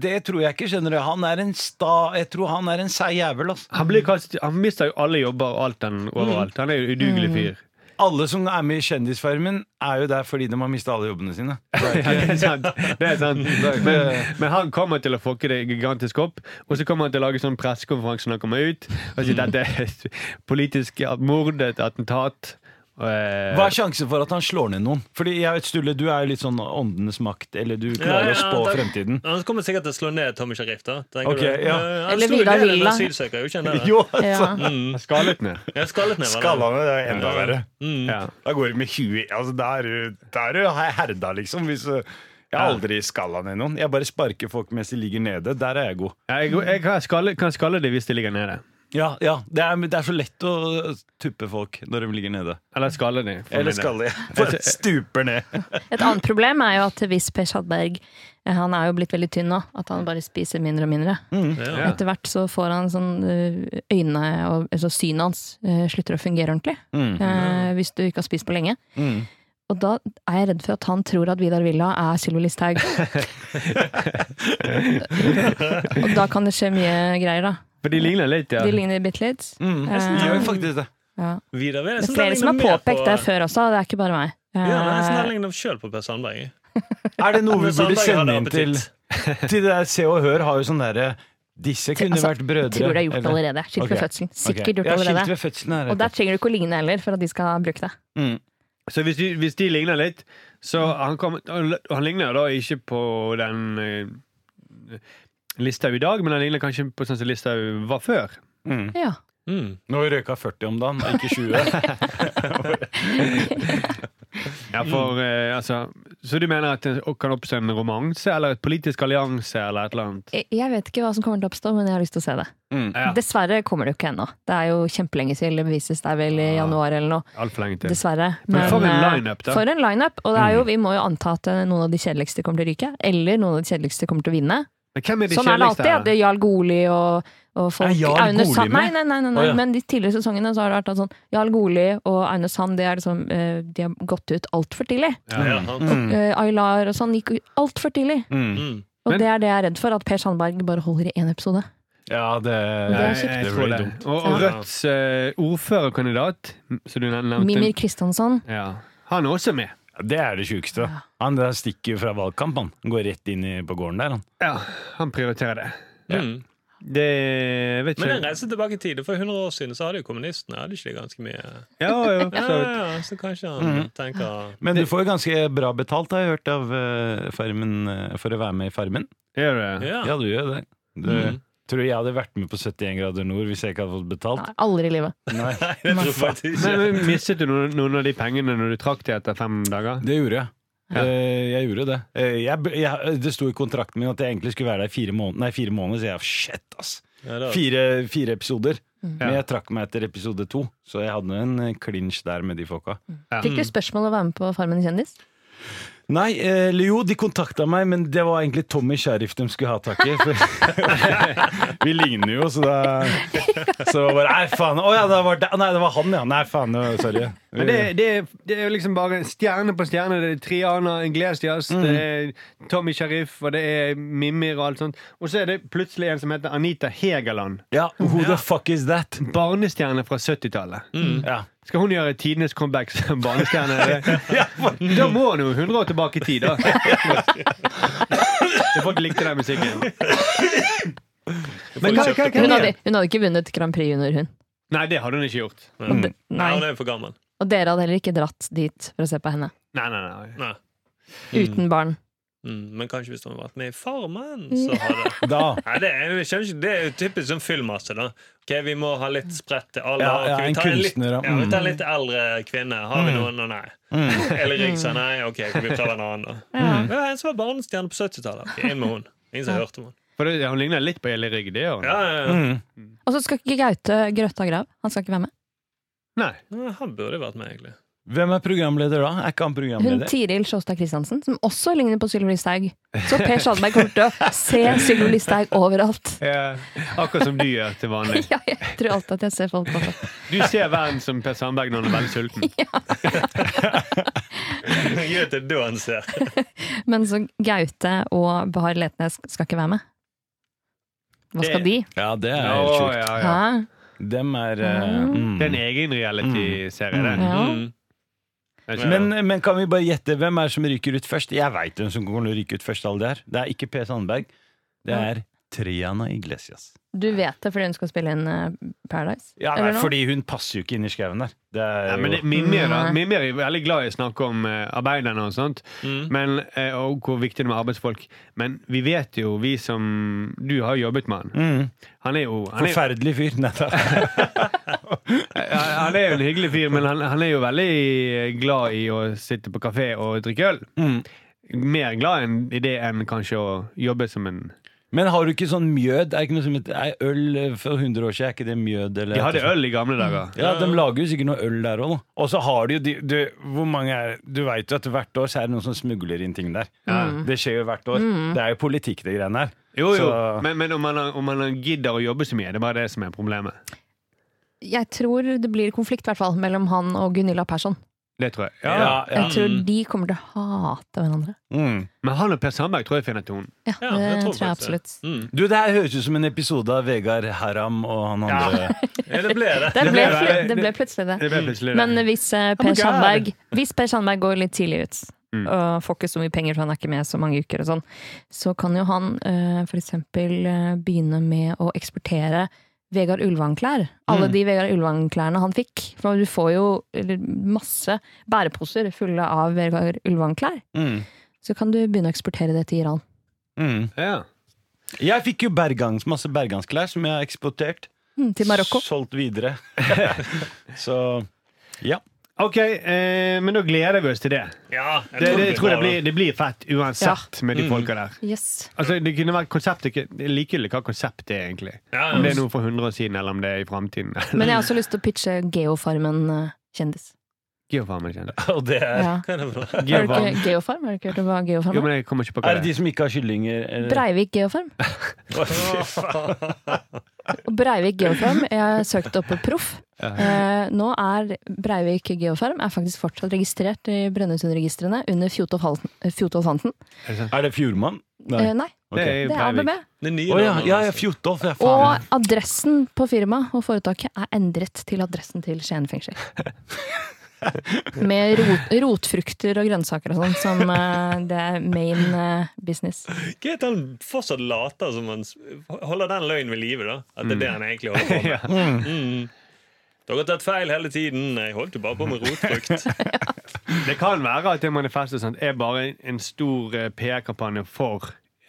B: Det tror jeg ikke, skjønner du. Han er en sta Jeg tror han er en seig jævel, ass.
C: Han, blir kastet, han mister jo alle jobber og alt han overalt. Han er jo udugelig fyr.
B: Alle som er med i Kjendisfarmen, er jo der fordi de har mista alle jobbene sine.
C: Ja, det er sant. Det er
B: [laughs]
C: sant. Men, men han kommer til å fucke det gigantisk opp. Og så kommer han til å lage sånn pressekonferanse når han kommer ut. Og
B: Mm.
C: sier dette er et politisk mord, et attentat. Eh,
B: Hva er sjansen for at han slår ned noen? Fordi jeg vet, Sturle, du er jo litt sånn åndenes makt, eller du klarer å spå
F: det-
B: fremtiden.
F: Han kommer sikkert til å slå ned Tommy Sharif, da. tenker
B: Ok,
F: du?
B: ja.
F: Eh, Han
E: Eller
F: slo
E: Vidar
F: ned en
E: Villa.
F: asylsøker, gjorde ikke han det?
B: [laughs] Jo,
E: Ja.
B: altså!
F: Mm.
C: Skallet
B: [laughs]
C: ned.
F: Jeg skallet ned, var det?
B: Skallene, det er enda verre.
F: Mm.
C: Ja.
B: Da går det med huet altså, Da er du- da er du herda, liksom. Hvis, uh, jeg har aldri skalla ned noen. Jeg bare sparker folk mens de ligger nede. Der er jeg god.
C: Jeg, jeg kan, skalle, kan skalle det hvis det ligger nede.
B: Ja, ja. Det, er, det er så lett å tuppe folk når de ligger nede.
C: Eller skalle det. for
B: Eller
C: min
B: [laughs]
C: del.
B: skalle. Bare stuper [laughs] ned.
E: Et annet problem er jo at hvis Per Sandberg eh, Han er jo blitt veldig tynn nå, at han bare spiser mindre og mindre.
F: Ja.
E: Etter hvert så får han sånn eh, øynene og altså synet hans eh, slutter å fungere ordentlig. eh, hvis du ikke har spist på lenge. Og da er jeg redd for at han tror at Vidar Villa er Sylvi Listhaug. og da kan det skje mye greier, da.
C: For de ligner litt, ja.
E: De ligner bitte litt.
B: De gjør jo faktisk det.
E: Ja.
F: Vidar Villa.
E: Det er flere som har påpekt det før også, det er ikke bare meg. Eh,
F: liksom Ja, nei, sånn ligner sjøl på Per Sandberg.
B: Er det noe vi
F: Per
B: burde
F: Sandberg
B: sende
F: hadde
B: inn til
F: appetitt.
B: Til det der Se og Hør har jo sånn derre Disse kunne
E: altså,
B: vært brødre.
E: tror det er gjort
B: eller-
E: allerede. Skilt ved
B: Ok.
E: fødselen. Sikkert
B: Ok.
E: gjort
B: Ja, skilt
E: allerede.
B: ved fødselen er
E: Og
B: rett.
E: der trenger du ikke å ligne heller, for at de skal bruke det.
B: Mm.
C: Så hvis de, hvis de ligner litt så han, kommer- og han ligner jo da ikke på den eh, Listhaug i dag, men han ligner kanskje på sånn som Listhaug var før.
E: Ja.
F: Mm.
B: Nå røyka 40 om dagen, og ikke 20.
E: [laughs]
C: Ja, for, eh, altså, så du mener at det kan oppstå en romanse eller et politisk allianse eller et eller annet?
E: Jeg- Jeg vet ikke hva som kommer til å oppstå, men jeg har lyst til å se det.
B: Mm,
C: Ja,
E: Dessverre kommer det jo ikke ennå. Det er jo kjempelenge siden det bevises. Det er vel i
B: Ah,
E: januar eller noe.
C: Altfor lenge til.
E: Dessverre.
C: Men for en
E: eh,
C: lineup, da.
E: For en lineup. Og det er jo,
B: Mm.
E: vi må jo anta at eh, noen av de kjedeligste kommer til å ryke. Eller noen av de kjedeligste kommer til å vinne.
C: Men hvem er de
E: Sånn er det alltid.
C: kjedeligste
E: At det er Jarl Goli og, og folk
B: Er Jarl
E: Aune
B: Goli
E: Sand-
B: med?
E: Nei, nei, nei, nei, nei.
B: Å, ja.
E: men de tidligere sesongene så har det vært at sånn Jarl Goli og Aune Sand de, er liksom, eh, de har gått ut altfor tidlig.
F: Ja, han.
B: Mm.
E: Eh, Aylar og sånn gikk altfor tidlig.
F: Mm.
E: Og
C: Men-
E: det er det jeg er redd for, at Per Sandberg bare holder i én episode.
B: Ja, det,
E: Det er
C: Nei, jeg
B: Det
C: tror
B: blir
C: det.
B: dumt.
C: Og, og Rødts eh, ordførerkandidat, som du nevnte
E: Mimir Kristiansson.
C: Ja. Han er også med.
B: Det er det sjukeste.
E: Ja.
B: Han der stikker jo fra valgkamp, han. Han Går rett inn i, på gården der, han.
C: Ja, han prioriterer det.
B: Ja.
F: Mm.
C: Det jeg vet
F: Men den
C: ikke
F: reisen tilbake i tid, for 100 år siden så hadde jo kommunistene hadde ikke de ganske mye
C: Ja,
F: [laughs]
C: jo,
F: ja,
C: for så
F: ja,
C: vidt.
F: ja, Så kanskje han tenker
B: Men du får jo ganske bra betalt, har jeg hørt, av eh, farmen, eh, for å være med i Farmen.
C: Gjør det?
F: Ja. [laughs]
B: Ja, du gjør det. Du,
F: Mm.
B: Tror du jeg hadde vært med på 71 grader nord hvis jeg ikke hadde fått betalt?
E: Nei, aldri i livet.
B: Nei,
F: Jeg tror faktisk
C: Men,
F: ikke.
C: men Mistet du noen, noen av de pengene når du trakk de etter fem dager?
B: Det gjorde jeg.
C: Ja.
B: Eh, Jeg gjorde det. Eh, Jeg, jeg, det sto i kontrakten min at jeg egentlig skulle være der i fire måneder, nei, fire måneder så jeg shit, ass.
F: Ja, da-
B: Fire, fire episoder.
E: Mm.
B: Men
C: Ja.
B: jeg trakk meg etter episode to, så jeg hadde en eh, clinch der med de folka.
E: Fikk du spørsmål om å være med på Farmen kjendis?
B: Nei, eh, eller jo, de kontakta meg, men det var egentlig Tommy Sheriff de skulle ha tak i. for- [laughs] Vi ligner jo, så da Så bare Nei, faen. Å ja, det var, det. Nei, det var han, ja. Nei, faen. det var- Sorry.
C: Men det, det, det er jo liksom bare stjerne på stjerne. Det er Triana Inglesias, det er Tommy Sharif, og det er Mimir og alt sånt. Og så er det plutselig en som heter Anita Hegeland.
B: Ja, who the fuck is that?
C: Barnestjerne fra 70-tallet.
B: Ja.
C: Skal hun gjøre tidenes comeback som barnestjerne? eller? Da må hun jo 100 år tilbake i tid, da. Jeg folk likte den musikken. Men hva, hva, hva,
E: Hun hadde, hun hadde ikke vunnet Grand Prix under hun.
C: Nei, det hadde hun ikke gjort.
E: Og,
B: Mm.
E: de,
F: Nei,
E: nei.
F: hun er for gammel.
E: og dere hadde heller ikke dratt dit for å se på henne.
C: Nei, nei, nei.
F: Nei.
E: Uten barn.
F: Mm, men kanskje hvis hun hadde vært med i Farmen, så hadde
B: Da.
F: Nei, det, er, jeg skjønner ikke, det er jo typisk sånn filmmasse, da. Ok, Vi må ha litt spredt til alle.
B: Ja, ja,
F: Ok, vi
B: en
F: tar
B: kunstner, ja.
F: litt, ja. Vi tar
B: Mm.
F: en litt eldre kvinne. Har vi noen? Og nei. Eller Rigsa, nei. Ok, vi prøver en annen, da. Men det var En som var barnestjerne på 70-tallet. Ok, inn med hun. Ingen som hørte om henne.
C: For det, hun ligner litt på Eli Rygg, det gjør hun.
F: Ja, ja, ja.
E: Og så skal ikke Gaute Grøtta Grav. Han skal ikke være med.
C: Nei.
B: Mm.
F: Nei, Han burde vært med, egentlig. [laughs]
B: Hvem er programleder da? Er ikke han
E: Hun
B: programleder?
E: Tiril Sjåstad Christiansen, som også ligner på Sylvi Listhaug. Så Per Sandberg kommer til å se Sylvi Listhaug overalt.
C: Ja, akkurat som du gjør til vanlig.
E: [laughs] Ja, jeg tror alltid at jeg ser folk på det.
C: Du ser verden som Per Sandberg når han er veldig sulten.
F: Gjør det da han ser.
E: Men så Gaute og Bahar Letnes skal ikke være med. Hva skal de?
B: Ja, det er helt
C: Å,
B: sjukt.
C: ja, ja.
E: Hæ?
B: Dem er eh, mm.
C: Det er en egen reality-serie, det.
E: Ja.
F: Mm.
C: Jeg skjønner.
B: men, men kan vi bare gjette hvem er det som ryker ut først? Jeg veit hvem som kommer til å ryke ut først. alle Det her Det er ikke P. Sandberg. Det er Triana Iglesias.
E: Du vet det fordi hun skal spille inn eh, Paradise?
B: Ja,
E: Eller
B: nei,
E: noe?
B: fordi hun passer jo ikke inn i skauen der. Det er
C: Ja, men det,
B: jo,
C: Mimir, da.
E: Nei.
B: Mm.
C: Mimir er jo veldig glad i å snakke om eh, arbeiderne og sånt,
B: Mm.
C: men, eh, og hvor viktig det er med arbeidsfolk. Men vi vet jo, vi som Du har jo jobbet med han.
B: mm,
C: Han er jo, han er,
B: forferdelig fyr. [laughs] Nei, da.
C: eh, han er jo en hyggelig fyr, men han, han er jo veldig glad i å sitte på kafé og drikke øl.
B: Mm.
C: Mer glad enn, i det enn kanskje å jobbe som en
B: Men har du ikke sånn mjød? Er ikke noe som heter er øl eh, for 100 år siden? Er ikke Mm. det mjød? Eller,
C: De hadde øl i gamle dager.
B: Ja, De lager jo sikkert noe øl der òg. Og så har de jo de, du, Hvor mange er Du veit jo at hvert år så er det noen som smugler inn ting der. Det skjer jo hvert år.
E: Mm.
B: Det er jo politikk, det greiene her.
C: Jo, jo.
B: Så-
C: Men, men om, man, om man gidder å jobbe så mye, det er bare det som er problemet.
E: Jeg tror det blir konflikt i hvert fall mellom han og Gunilla Persson.
C: Det tror jeg.
B: Ja, ja.
E: Jeg tror de kommer til å hate hverandre.
B: Mm.
C: Men han og Per Sandberg tror jeg finner tonen.
E: Ja,
F: Ja,
E: det
F: jeg
E: tror jeg
F: tror faktisk det.
E: absolutt.
F: Mm.
B: Du, det her høres ut som en episode av Vegard Haram og han andre.
F: Ja, det ble det.
E: Det ble,
C: ble
E: fl-
C: det.
E: det ble plutselig det.
C: Det
B: Mm.
C: ble plutselig det.
E: Men hvis eh,
C: Oh my
E: Per
C: God. Mm.
E: Sandberg Hvis Per Sandberg går litt tidlig ut og får ikke så mye penger, for han er ikke med så mange uker, og sånn, så kan jo han eh, for eksempel eh, begynne med å eksportere Vegard Ulvang-klær.
C: Mm.
E: Alle de Vegard Ulvang-klærne han fikk. For du får jo eller, masse bæreposer fulle av Vegard Ulvang-klær.
B: Mm.
E: Så kan du begynne å eksportere det til Iran.
B: Mm.
C: Ja.
B: Jeg fikk jo bergans, masse bergansklær som jeg har eksportert.
E: Mm, til Marokko.
B: Solgt
C: [laughs]
B: videre. Så ja.
C: Ok, eh, men da gleder vi oss til det.
F: Ja,
C: Det, det, jeg tror det
F: bra,
C: blir, det blir fett uansett med
B: Mm.
C: de folka der. [laughs]
E: Yes.
C: Altså, det kunne vært konseptet ikke- Det er likegyldig hva konseptet er, egentlig.
F: Ja, ja.
C: Om det er noe for 100 år siden, eller om det er i framtiden.
E: Men jeg har også lyst til å pitche Geofarmen eh, kjendis.
C: Geofarmen, kjenner jeg.
F: da. Og det er
E: Ja.
F: Hva er det for noe?
E: Har du
C: Geofarm.
E: ikke Geofarm? Har du ikke hørt om hva Geofarm
C: Jo,
E: er?
C: men jeg kommer ikke på hva
B: Er det
C: det er.
B: de som ikke har kyllinger? eller-
E: Breivik Geofarm.
B: Å, fy faen.
E: Og Breivik Geofarm, jeg har søkt opp på Proff. Eh, nå er Breivik Geofarm er faktisk fortsatt registrert i Brønnøysundregistrene under Fjotolf Halsen- eh, Fjotolf Hansen.
B: Er det Fjordmann?
E: Eh, nei,
B: Ok.
C: Det er
E: det
C: jo
E: er ABB.
C: Breivik.
F: Det
B: Å
F: nye
B: ja,
F: navnet,
B: ja, ja,
F: altså.
B: Fjotolf. Ja, faen.
E: Og adressen på firmaet og foretaket er endret til adressen til Skien fengsel. Med rot, rotfrukter og grønnsaker og sånn, som eh, det er main eh, business.
F: Gøy at han fortsatt later som han s- holder den løgnen ved live. da At det er det han egentlig holder på med.
C: Ja.
F: Mm. Dere har tatt feil hele tiden. Jeg holdt jo bare på med rotfrukt.
C: Det kan være at det manifestet sant, er bare en- en stor eh, PR-kampanje for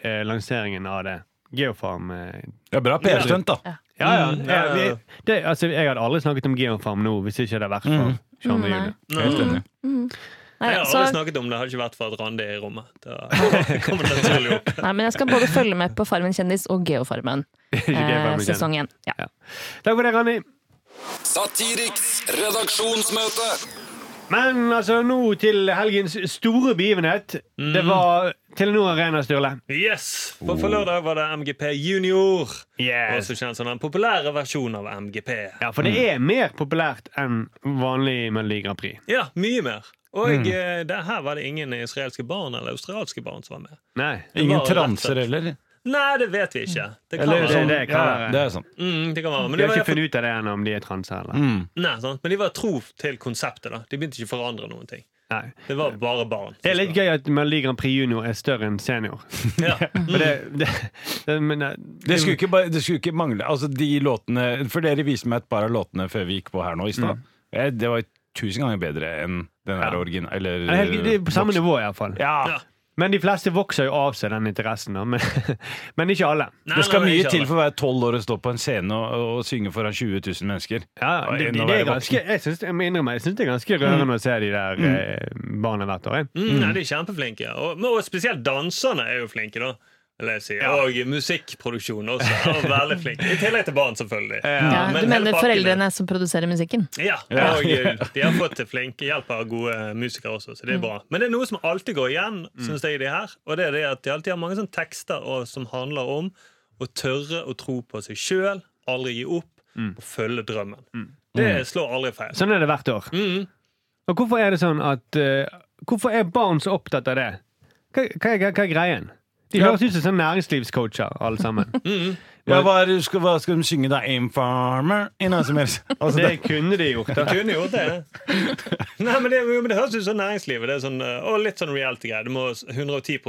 C: eh, lanseringen av det. Geofarm. Eh.
B: Det er bra PR-stunt, da.
C: Ja, ja.
F: Mm,
C: ja,
F: ja, ja.
C: vi, det, altså, jeg hadde aldri snakket om Geofarm nå hvis ikke det hadde vært
F: Mm.
C: for Jean og
E: Nei.
C: Julie.
B: Helt
C: Mm.
B: enig.
E: Nei,
F: Jeg har
E: så,
F: aldri snakket om det. Hadde ikke vært for at Randi er i rommet. Da [laughs] kommer det naturlig opp.
E: nei, men jeg skal både følge med på Farmen kjendis og Geofarmen.
C: Ikke
E: Eh,
C: Geofarm igjen.
E: sesong én. Ja.
C: Takk for det, Randi.
D: Satiriks redaksjonsmøte.
C: Men altså, nå til helgens store begivenhet. Det
F: Mm.
C: var Telenor Arena, Sturle.
F: Yes! For for lørdag var det MGP Junior.
C: Yes.
F: Også kjent som den populære versjonen av MGP.
C: Ja, for
F: Mm.
C: det er mer populært enn vanlig Melodi Grand Prix.
F: Ja, mye mer. Og eh, det, her var det ingen israelske barn eller australske barn som var med.
C: Nei.
B: Ingen
F: var rett og
B: transer
F: slett.
B: heller.
F: Nei, det vet vi ikke. Det kan
B: Eller
F: være.
B: sånn.
C: det kan
B: Ja,
C: være.
B: det er sånn.
F: Mm, det kan være. Men
C: Vi
F: de
C: har
F: var,
C: ikke
F: iallfall-
C: funnet ut av det ennå, om de er transe eller
B: Mm.
F: nei, sant? Men de var tro til konseptet. da De begynte ikke å forandre noen ting.
C: Nei.
F: Det var bare barn.
C: Det er litt gøy at Melodi Grand Prix junior er større enn senior.
F: Ja.
C: For det, det, det, men, eh,
B: Det skulle, ikke, bare- det skulle ikke mangle Altså de låtene For dere viste meg et par av låtene før vi gikk på her nå i stad. Eh, Det var tusen ganger bedre enn den her
C: Mm. Ja.
B: original... Eller
C: det er helt- det er på samme nivå, iallfall.
B: Ja.
F: Ja.
C: Men de fleste vokser jo av seg den interessen, da. Men, [laughs] men ikke alle.
F: Nei,
B: Det skal
F: nei, nei,
B: mye
F: ikke
B: til
F: alle.
B: for å være tolv år og stå på en scene og, og synge foran 20 000 mennesker.
C: Ja,
B: Og
C: det,
B: enda
C: det, det
B: verre
C: er ganske, jeg, synes, jeg må innrømme, jeg syns det er ganske rørende å se de der eh, barna hvert år. jeg.
F: Mm, nei, de er kjempeflinke. Og, men- og spesielt danserne er jo flinke, da. Eller jeg sier, Og musikkproduksjonen også. er veldig flink. I tillegg til barn, selvfølgelig.
E: Ja,
F: Men
E: du
F: hele
E: mener
F: pakken er-
E: foreldrene som produserer musikken?
F: Ja,
B: Ja.
F: og eh, de har fått til flinke hjelp av gode eh, musikere også, så det er bra. Men det er noe som alltid går igjen, synes jeg, i de her. Og det er det at de alltid har mange sånne tekster og, som handler om å tørre å tro på seg sjøl, aldri gi opp, og følge drømmen. Det slår aldri feil.
C: Sånn er det hvert år.
F: Mm.
C: Og hvorfor er det sånn at eh, Hvorfor er barn så opptatt av det? Hva, hva, er- hva er greien? De
B: Ja.
C: høres ut som sånn næringslivscoacher, alle
F: [laughs]
C: sammen.
B: Ja, hva, er, det- skal, hva skal de synge da? Aim Farmer? I noe som helst. Altså,
C: [laughs]
B: det,
C: Det kunne de gjort. da.
F: Kunne gjort det. Nei, men det, jo, men det høres ut som næringslivet. Det er sånn, eh, og litt sånn reality-greier. Du må 110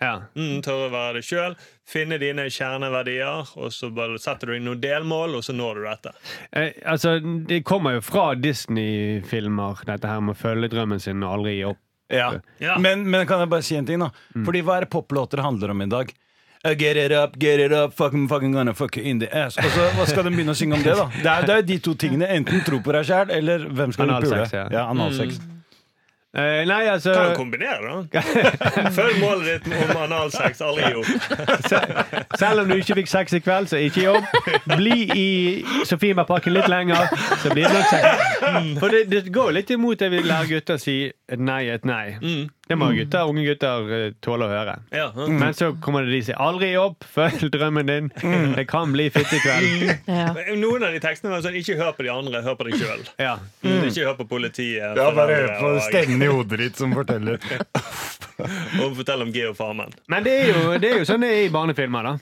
C: Ja.
F: Mm, tørre å være deg sjøl, finne dine kjerneverdier, og så bare setter du inn noen delmål, og så når du dette.
C: Eh, altså, Det kommer jo fra Disney-filmer, dette her med å følge drømmen sin og aldri gi opp.
B: ja.
F: Ja.
B: Men, men kan jeg bare si en ting, da?
C: Mm.
B: Fordi hva er det poplåter handler om i dag? Uh, Get it up, get it up, fucking, fucking gonna fuck you in the ass. Og så, Hva skal de begynne å synge om det, da? Det er, det er jo de to tingene. Enten tro på deg sjæl, eller hvem skal du pule?
C: Analsex, ja. Mm.
B: Ja, analsex.
C: Eh, nei, altså
F: Kan jo kombinere, da. Følg målet ditt om analsex. Aldri gi opp.
C: [laughs] Selv om du ikke fikk sex i kveld, så ikke jobb. Bli i Sofiemarparken litt lenger, så blir det nok sex.
F: Mm.
C: For det, det går jo litt imot det vi lærer gutter å si et nei er et nei.
F: Mm.
C: Det må gutter, unge gutter eh, tåle å høre.
F: Ja, ja.
C: Men så kommer det de som sier 'aldri jobb, følg drømmen din'.
F: Mm.
C: Det kan bli fittekveld.
E: Ja.
F: Noen av de tekstene var sånn Ikke hør på de andre, hør på deg sjøl.
C: Ja.
F: Ikke hør på politiet.
B: i hodet ditt som forteller.
F: og, og fortell om geofarmen.
C: Men det er, jo, det er jo sånn det er i barnefilmer. da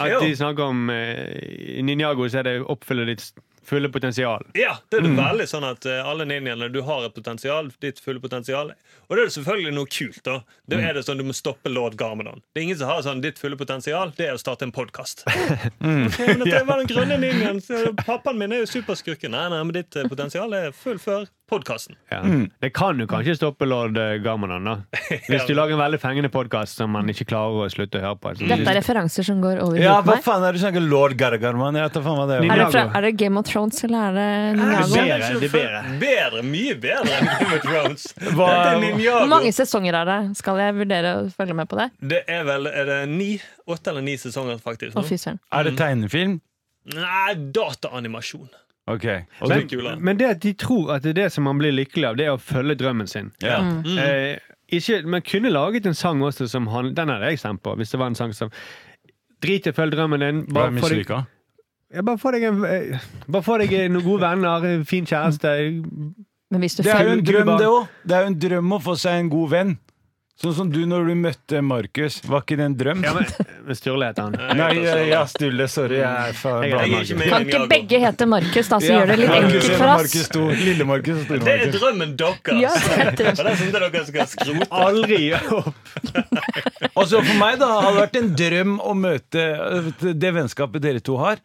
C: At
F: Jo.
C: de snakker om eh, I Ninjago så er det 'oppfylle ditt fulle potensial'.
F: Ja, det er det veldig sånn at eh, alle ninjaene, du har et potensial, ditt fulle potensial. Og det er det selvfølgelig noe kult, da. Da er det sånn du må stoppe lord Garmadon. Det er ingen som har sånn ditt fulle potensial, det er å starte en podkast. [laughs] Men at det var den grønne ninjaen. så Pappaen min er jo superskurken. Nei, nei, men ditt eh, potensial er fullfør podkasten.
C: Ja.
E: Mm.
C: Det kan jo kanskje stoppe lord eh, Garmanon, da. Hvis du lager en veldig fengende podkast som man ikke klarer å slutte å høre på. Så-
E: Dette er referanser som går
B: [laughs]
E: over
B: Ja,
E: hodet på
B: hva
E: meg.
B: faen er det du snakker lord Gargarman? Jeg vet da faen hva det er.
E: Er det,
C: Ninjago.
E: fra, er det Game of Thrones, eller er det Ninjago?
C: bedre, det er bedre.
F: Bedre, Mye bedre enn Game of Thrones. Dette er
B: Hva,
E: Hvor mange
F: Ninjago.
E: sesonger er det? Skal jeg vurdere å følge med på det?
F: Det er vel er det ni, åtte eller ni sesonger, faktisk.
E: Å,
F: nå?
E: fy søren.
B: er det tegnefilm?
F: Nei, dataanimasjon.
B: Ok. Og
C: Men,
B: du,
F: Kula.
C: men det at de tror at det er det som man blir lykkelig av, det er å følge drømmen sin.
B: ja.
C: Eh, ikke, man kunne laget en sang også som han, Den hadde jeg stemt på, hvis det var en sang som Drit i å følge drømmen din.
B: Hva
C: Bare
B: er
C: få deg,
B: mislykka?
C: ja, bare få deg, en, eh, bare få deg eh, noen gode venner, en fin kjæreste.
E: Men hvis du
B: Det er jo en
E: følger
B: drøm, det òg. Det er jo en drøm å få seg en god venn. Sånn som du når du møtte Markus. Var ikke det en drøm?
C: Ja, men, men Sturle heter han.
B: Nei, ja, ja, Sturle. Sorry, jeg er fra
C: Jeg er
B: Blad-
F: sånn. Jeg er ikke med
E: Kan
F: i
E: ikke
F: Ninjago.
E: begge hete Markus, da, så Altså, gjør det litt
B: Ja,
E: enkelt
B: Markus
E: for
B: og
E: oss?
B: Markus to. Lille Markus og Store
F: Det er
B: Markus.
F: drømmen deres!
E: Ja, det er
F: Og [laughs] det synes jeg dere skal skrote.
C: Aldri gi opp!
B: Og så for meg da, har det vært en drøm å møte øh, det vennskapet dere to har.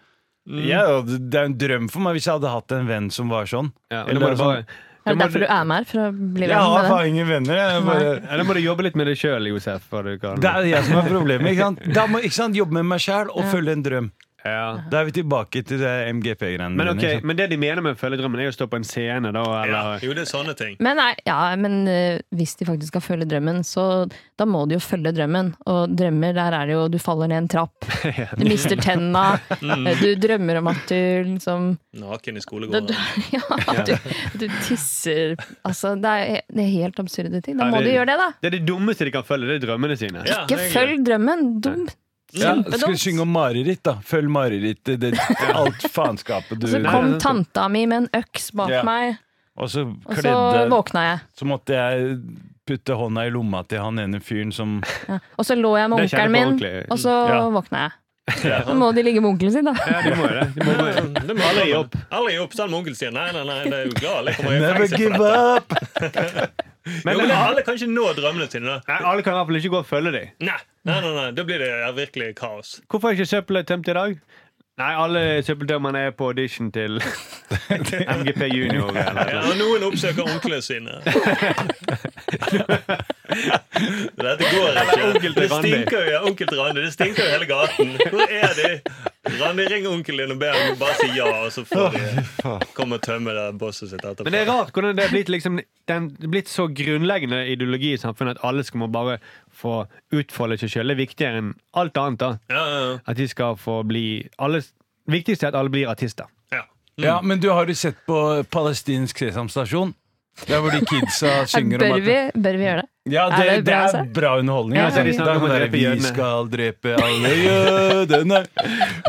B: Ja, og det det er en drøm for meg hvis jeg hadde hatt en venn som var sånn.
C: Ja, men
B: Eller
C: da må du
B: sånn,
C: bare-
E: Er
C: da
E: det
C: må
E: derfor du
C: du-
E: er med her? For å bli
B: Jeg
E: venn
B: har
E: med den?
B: faen ingen venner. Jeg bare,
C: Ja, da må du jobbe litt med deg sjøl, Josef. før du kan-
B: det er jeg som er problemet. Ikke sant? Da må ikke sant, jobbe med meg sjæl og følge en drøm.
C: Ja.
B: Da er vi tilbake til det MGP-greiene.
C: Men,
B: mine,
C: ok,
E: liksom-
B: ikke sant?
C: men det de mener med å følge drømmen, er jo å stå på en scene, da,
F: Ja,
C: eller
F: jo, det er sånne ting.
E: Men, nei, ja, men eh, hvis de faktisk skal følge drømmen, så da må de jo følge drømmen. Og drømmer, der er det jo du faller ned en
B: [laughs]
E: trapp, du mister tenna, eh,
F: Mm.
E: du drømmer om at du liksom
F: Naken i
E: da, du,
F: skolegården.
E: [laughs] Ja, at du, du tisser Altså, det er, det er helt absurde ting. Da
C: Ja,
E: må
C: det-
E: du gjøre det, da.
C: Det er det dummeste de kan følge, det er drømmene sine.
F: Ja,
E: Ikke
F: det er
E: følg drømmen! Dum.
B: Ja, skal vi
E: Kjempedumt.
B: synge om mareritt, da? Følg marerittet, det, alt faenskapet du
E: Så
C: Nei,
E: Altså, kom
C: nei, nei.
E: tanta mi med en øks bak
B: Ja.
E: meg,
B: Og så
E: og så
B: kledde
E: våkna jeg.
B: Så måtte jeg putte hånda i lomma til han ene fyren som [laughs]
E: Ja. Og så lå jeg med
C: Det kjenner
E: onkelen min,
C: på ordentlig.
E: og så
B: Ja.
E: våkna
B: [laughs]
E: jeg. Så må de ligge med onkelen sin, da.
C: Ja, de må jo det. De må bare...
F: gøy. Det må alle gi opp. Alle gir opp, Selv om onkelen sier nei, nei, nei, det er jo glad. Jeg kommer i
B: Never
F: fengsel for
B: give
F: dette.
B: up!
F: Jo,
C: Men
F: men alle kan ikke nå drømmene sine. da.
C: Nei, alle kan i hvert fall ikke gå og følge dem.
F: Nei, nei, nei, nei, da blir det virkelig kaos.
C: Hvorfor er ikke søppelet tømt i dag? Nei, alle søppeldømmerne er på audition til MGP Junior. Eller.
F: Ja, og noen oppsøker onklene sine. Dette går ikke.
C: onkel til
F: Det
C: Randi.
F: stinker jo ja, onkel til Randi. Det stinker jo hele gaten. Hvor er de? Randi, ring onkelen din og be ham bare si ja, og så får de komme og tømme det bosset sitt etterpå.
C: Men det er rart hvordan det er blitt, liksom, den, det er blitt så grunnleggende ideologi i samfunnet at alle skal må bare få utfolde seg sjøl. Det er viktigere enn alt annet. da.
F: Ja, ja,
C: At de skal få bli alle, Viktigst er at alle blir artister.
F: ja.
B: Ja, men du har du sett på palestinsk sesamstasjon? Der hvor de
E: [laughs]
B: kidsa synger om
E: Bør
B: at
E: vi, bør vi gjøre det?
B: Ja, det,
E: Er
B: det
E: det bra å
B: er
E: se?
B: bra underholdning.
E: Ja,
B: altså.
E: ja, ja.
B: Det er sånn der, vi
C: jødene.
B: skal drepe alle jødene.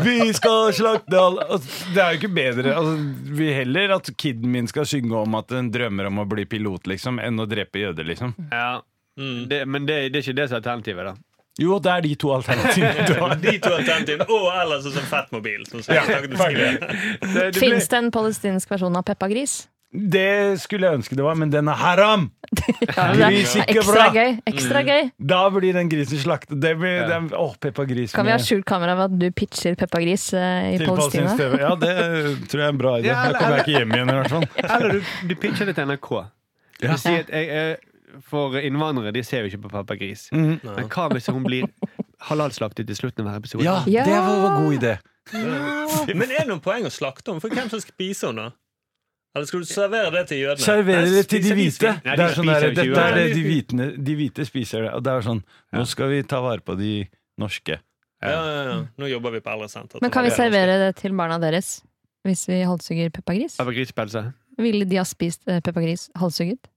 B: Vi skal slakte alle altså, Det er jo ikke bedre. Altså, vi heller at kiden min skal synge om at den drømmer om å bli pilot, liksom, enn å drepe jøder, liksom.
C: Ja. Det, men det, det er ikke det som er alternativet. da.
B: Jo, det er de to alternativene du
F: [laughs]
B: har.
F: De to alternativene, og ellers en sånn fettmobil. Sånn, som jeg snakket om tidligere.
C: Det, det
E: Fins det en palestinsk versjon av Peppa Gris?
B: Det skulle jeg ønske det var, men den er haram!
E: Ja, men det er
B: Gris ikke
E: ekstra
B: bra. Mm.
E: gøy. Ekstra gøy.
B: Da blir den grisen slaktet. Det blir, den, åh, Peppa Gris.
E: Kan vi ha
B: med-
E: skjult kamera ved at du pitcher Peppa Gris eh, i
B: Mm. til
E: Palestina?
B: palestinsk TV? Ja, det tror jeg er en bra idé. Her kommer jeg ikke hjem igjen, i hvert fall.
E: [laughs]
C: Eller du, du pitcher det til NRK. Du sier at jeg, eh, for innvandrere de ser jo ikke på Pappa Gris. Men hva hvis hun blir halalslaktet i slutten av hver episode?
B: Ja,
E: Ja.
B: det var en god idé.
F: Men er det noen poeng å slakte om? For hvem som spiser henne? Eller skal du servere det til jødene?
B: Serverer
F: Nei,
B: det til de
F: spiser
B: hvite.
F: svin.
C: Nei, de
B: Det er sånn der,
C: spiser jo
B: det,
C: ikke
B: det er det
F: uansett.
B: de, hvitene, de hvite spiser det. Og det er sånn Nå skal vi ta vare på de norske.
F: Ja, ja, ja. Nå jobber vi på eldresenter.
E: Men kan vi servere det til barna deres? Hvis vi halshugger Peppa Gris?
C: Pappa Gris-pølse.
E: Ville de ha spist eh, Peppa Gris halshugget?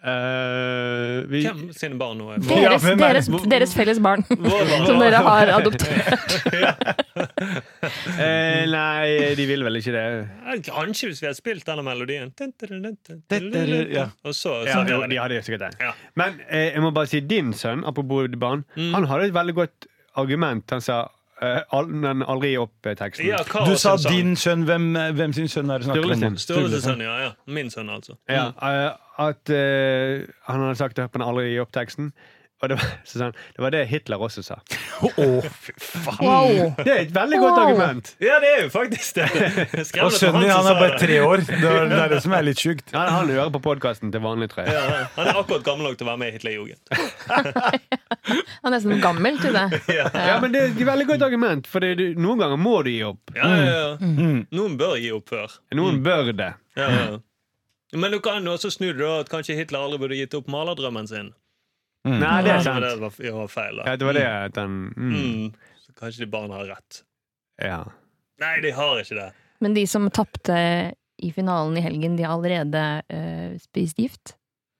C: Eh, vi,
F: Hvem sine barn nå er?
B: Ja,
E: Deres,
B: hvem er det?
E: deres, deres felles barn
F: Vår barn.
E: som dere har adoptert.
C: eh, nei, de vil vel ikke det.
F: Ja, Kanskje hvis vi hadde spilt denne melodien.
B: ja.
F: Og så
C: Ja, jo, de hadde jo sikkert det.
F: Ja.
C: Men eh, jeg må bare si din sønn, apropos barn,
F: Mm.
C: han hadde et veldig godt argument. Han sa eh, al- den aldri gi eh, opp-teksten.
F: Ja, Karl
B: Du sa
F: sin sønn.
B: din sønn. Hvem, hvem sin sønn er det
C: Sturle
B: snakker
C: sin.
B: om?
F: Sturle sin sønn, ja, ja. Min sønn, altså.
C: Ja, eh, at eh, han hadde sagt at han aldri gir opp teksten. Og det var, [laughs] så sa han, det var det Hitler også sa.
E: Wow!
C: Det er et veldig godt
E: Wow.
C: argument.
F: Ja, det er jo faktisk [laughs] det!
B: Og sønnen din han er bare tre år. Det er det, er det som er litt sjukt.
C: Han, han hører på podkasten til vanlig trøye.
F: Ja, ja. han er akkurat gammel nok til å være med i Hitlerjugend.
E: Han er nesten for gammel til det.
C: Ja, men det er et veldig godt argument, for det, du- noen ganger må du gi opp.
F: Ja, ja,
B: Mm.
F: ja. Noen bør gi opp før.
C: Noen bør det.
F: Ja, ja. ja. Men du kan jo også snu det, da, at kanskje Hitler aldri burde gitt opp malerdrømmen sin.
B: mm.
C: Nei, det er
F: Ja, men
C: sant.
F: det var, det var feil,
C: Ja,
F: da.
C: det var det at han mm,
F: Mm. Så kanskje de barna har rett.
C: Ja.
F: Nei, de har ikke det.
E: Men de som tapte i finalen i helgen, de har allerede eh, spist gift.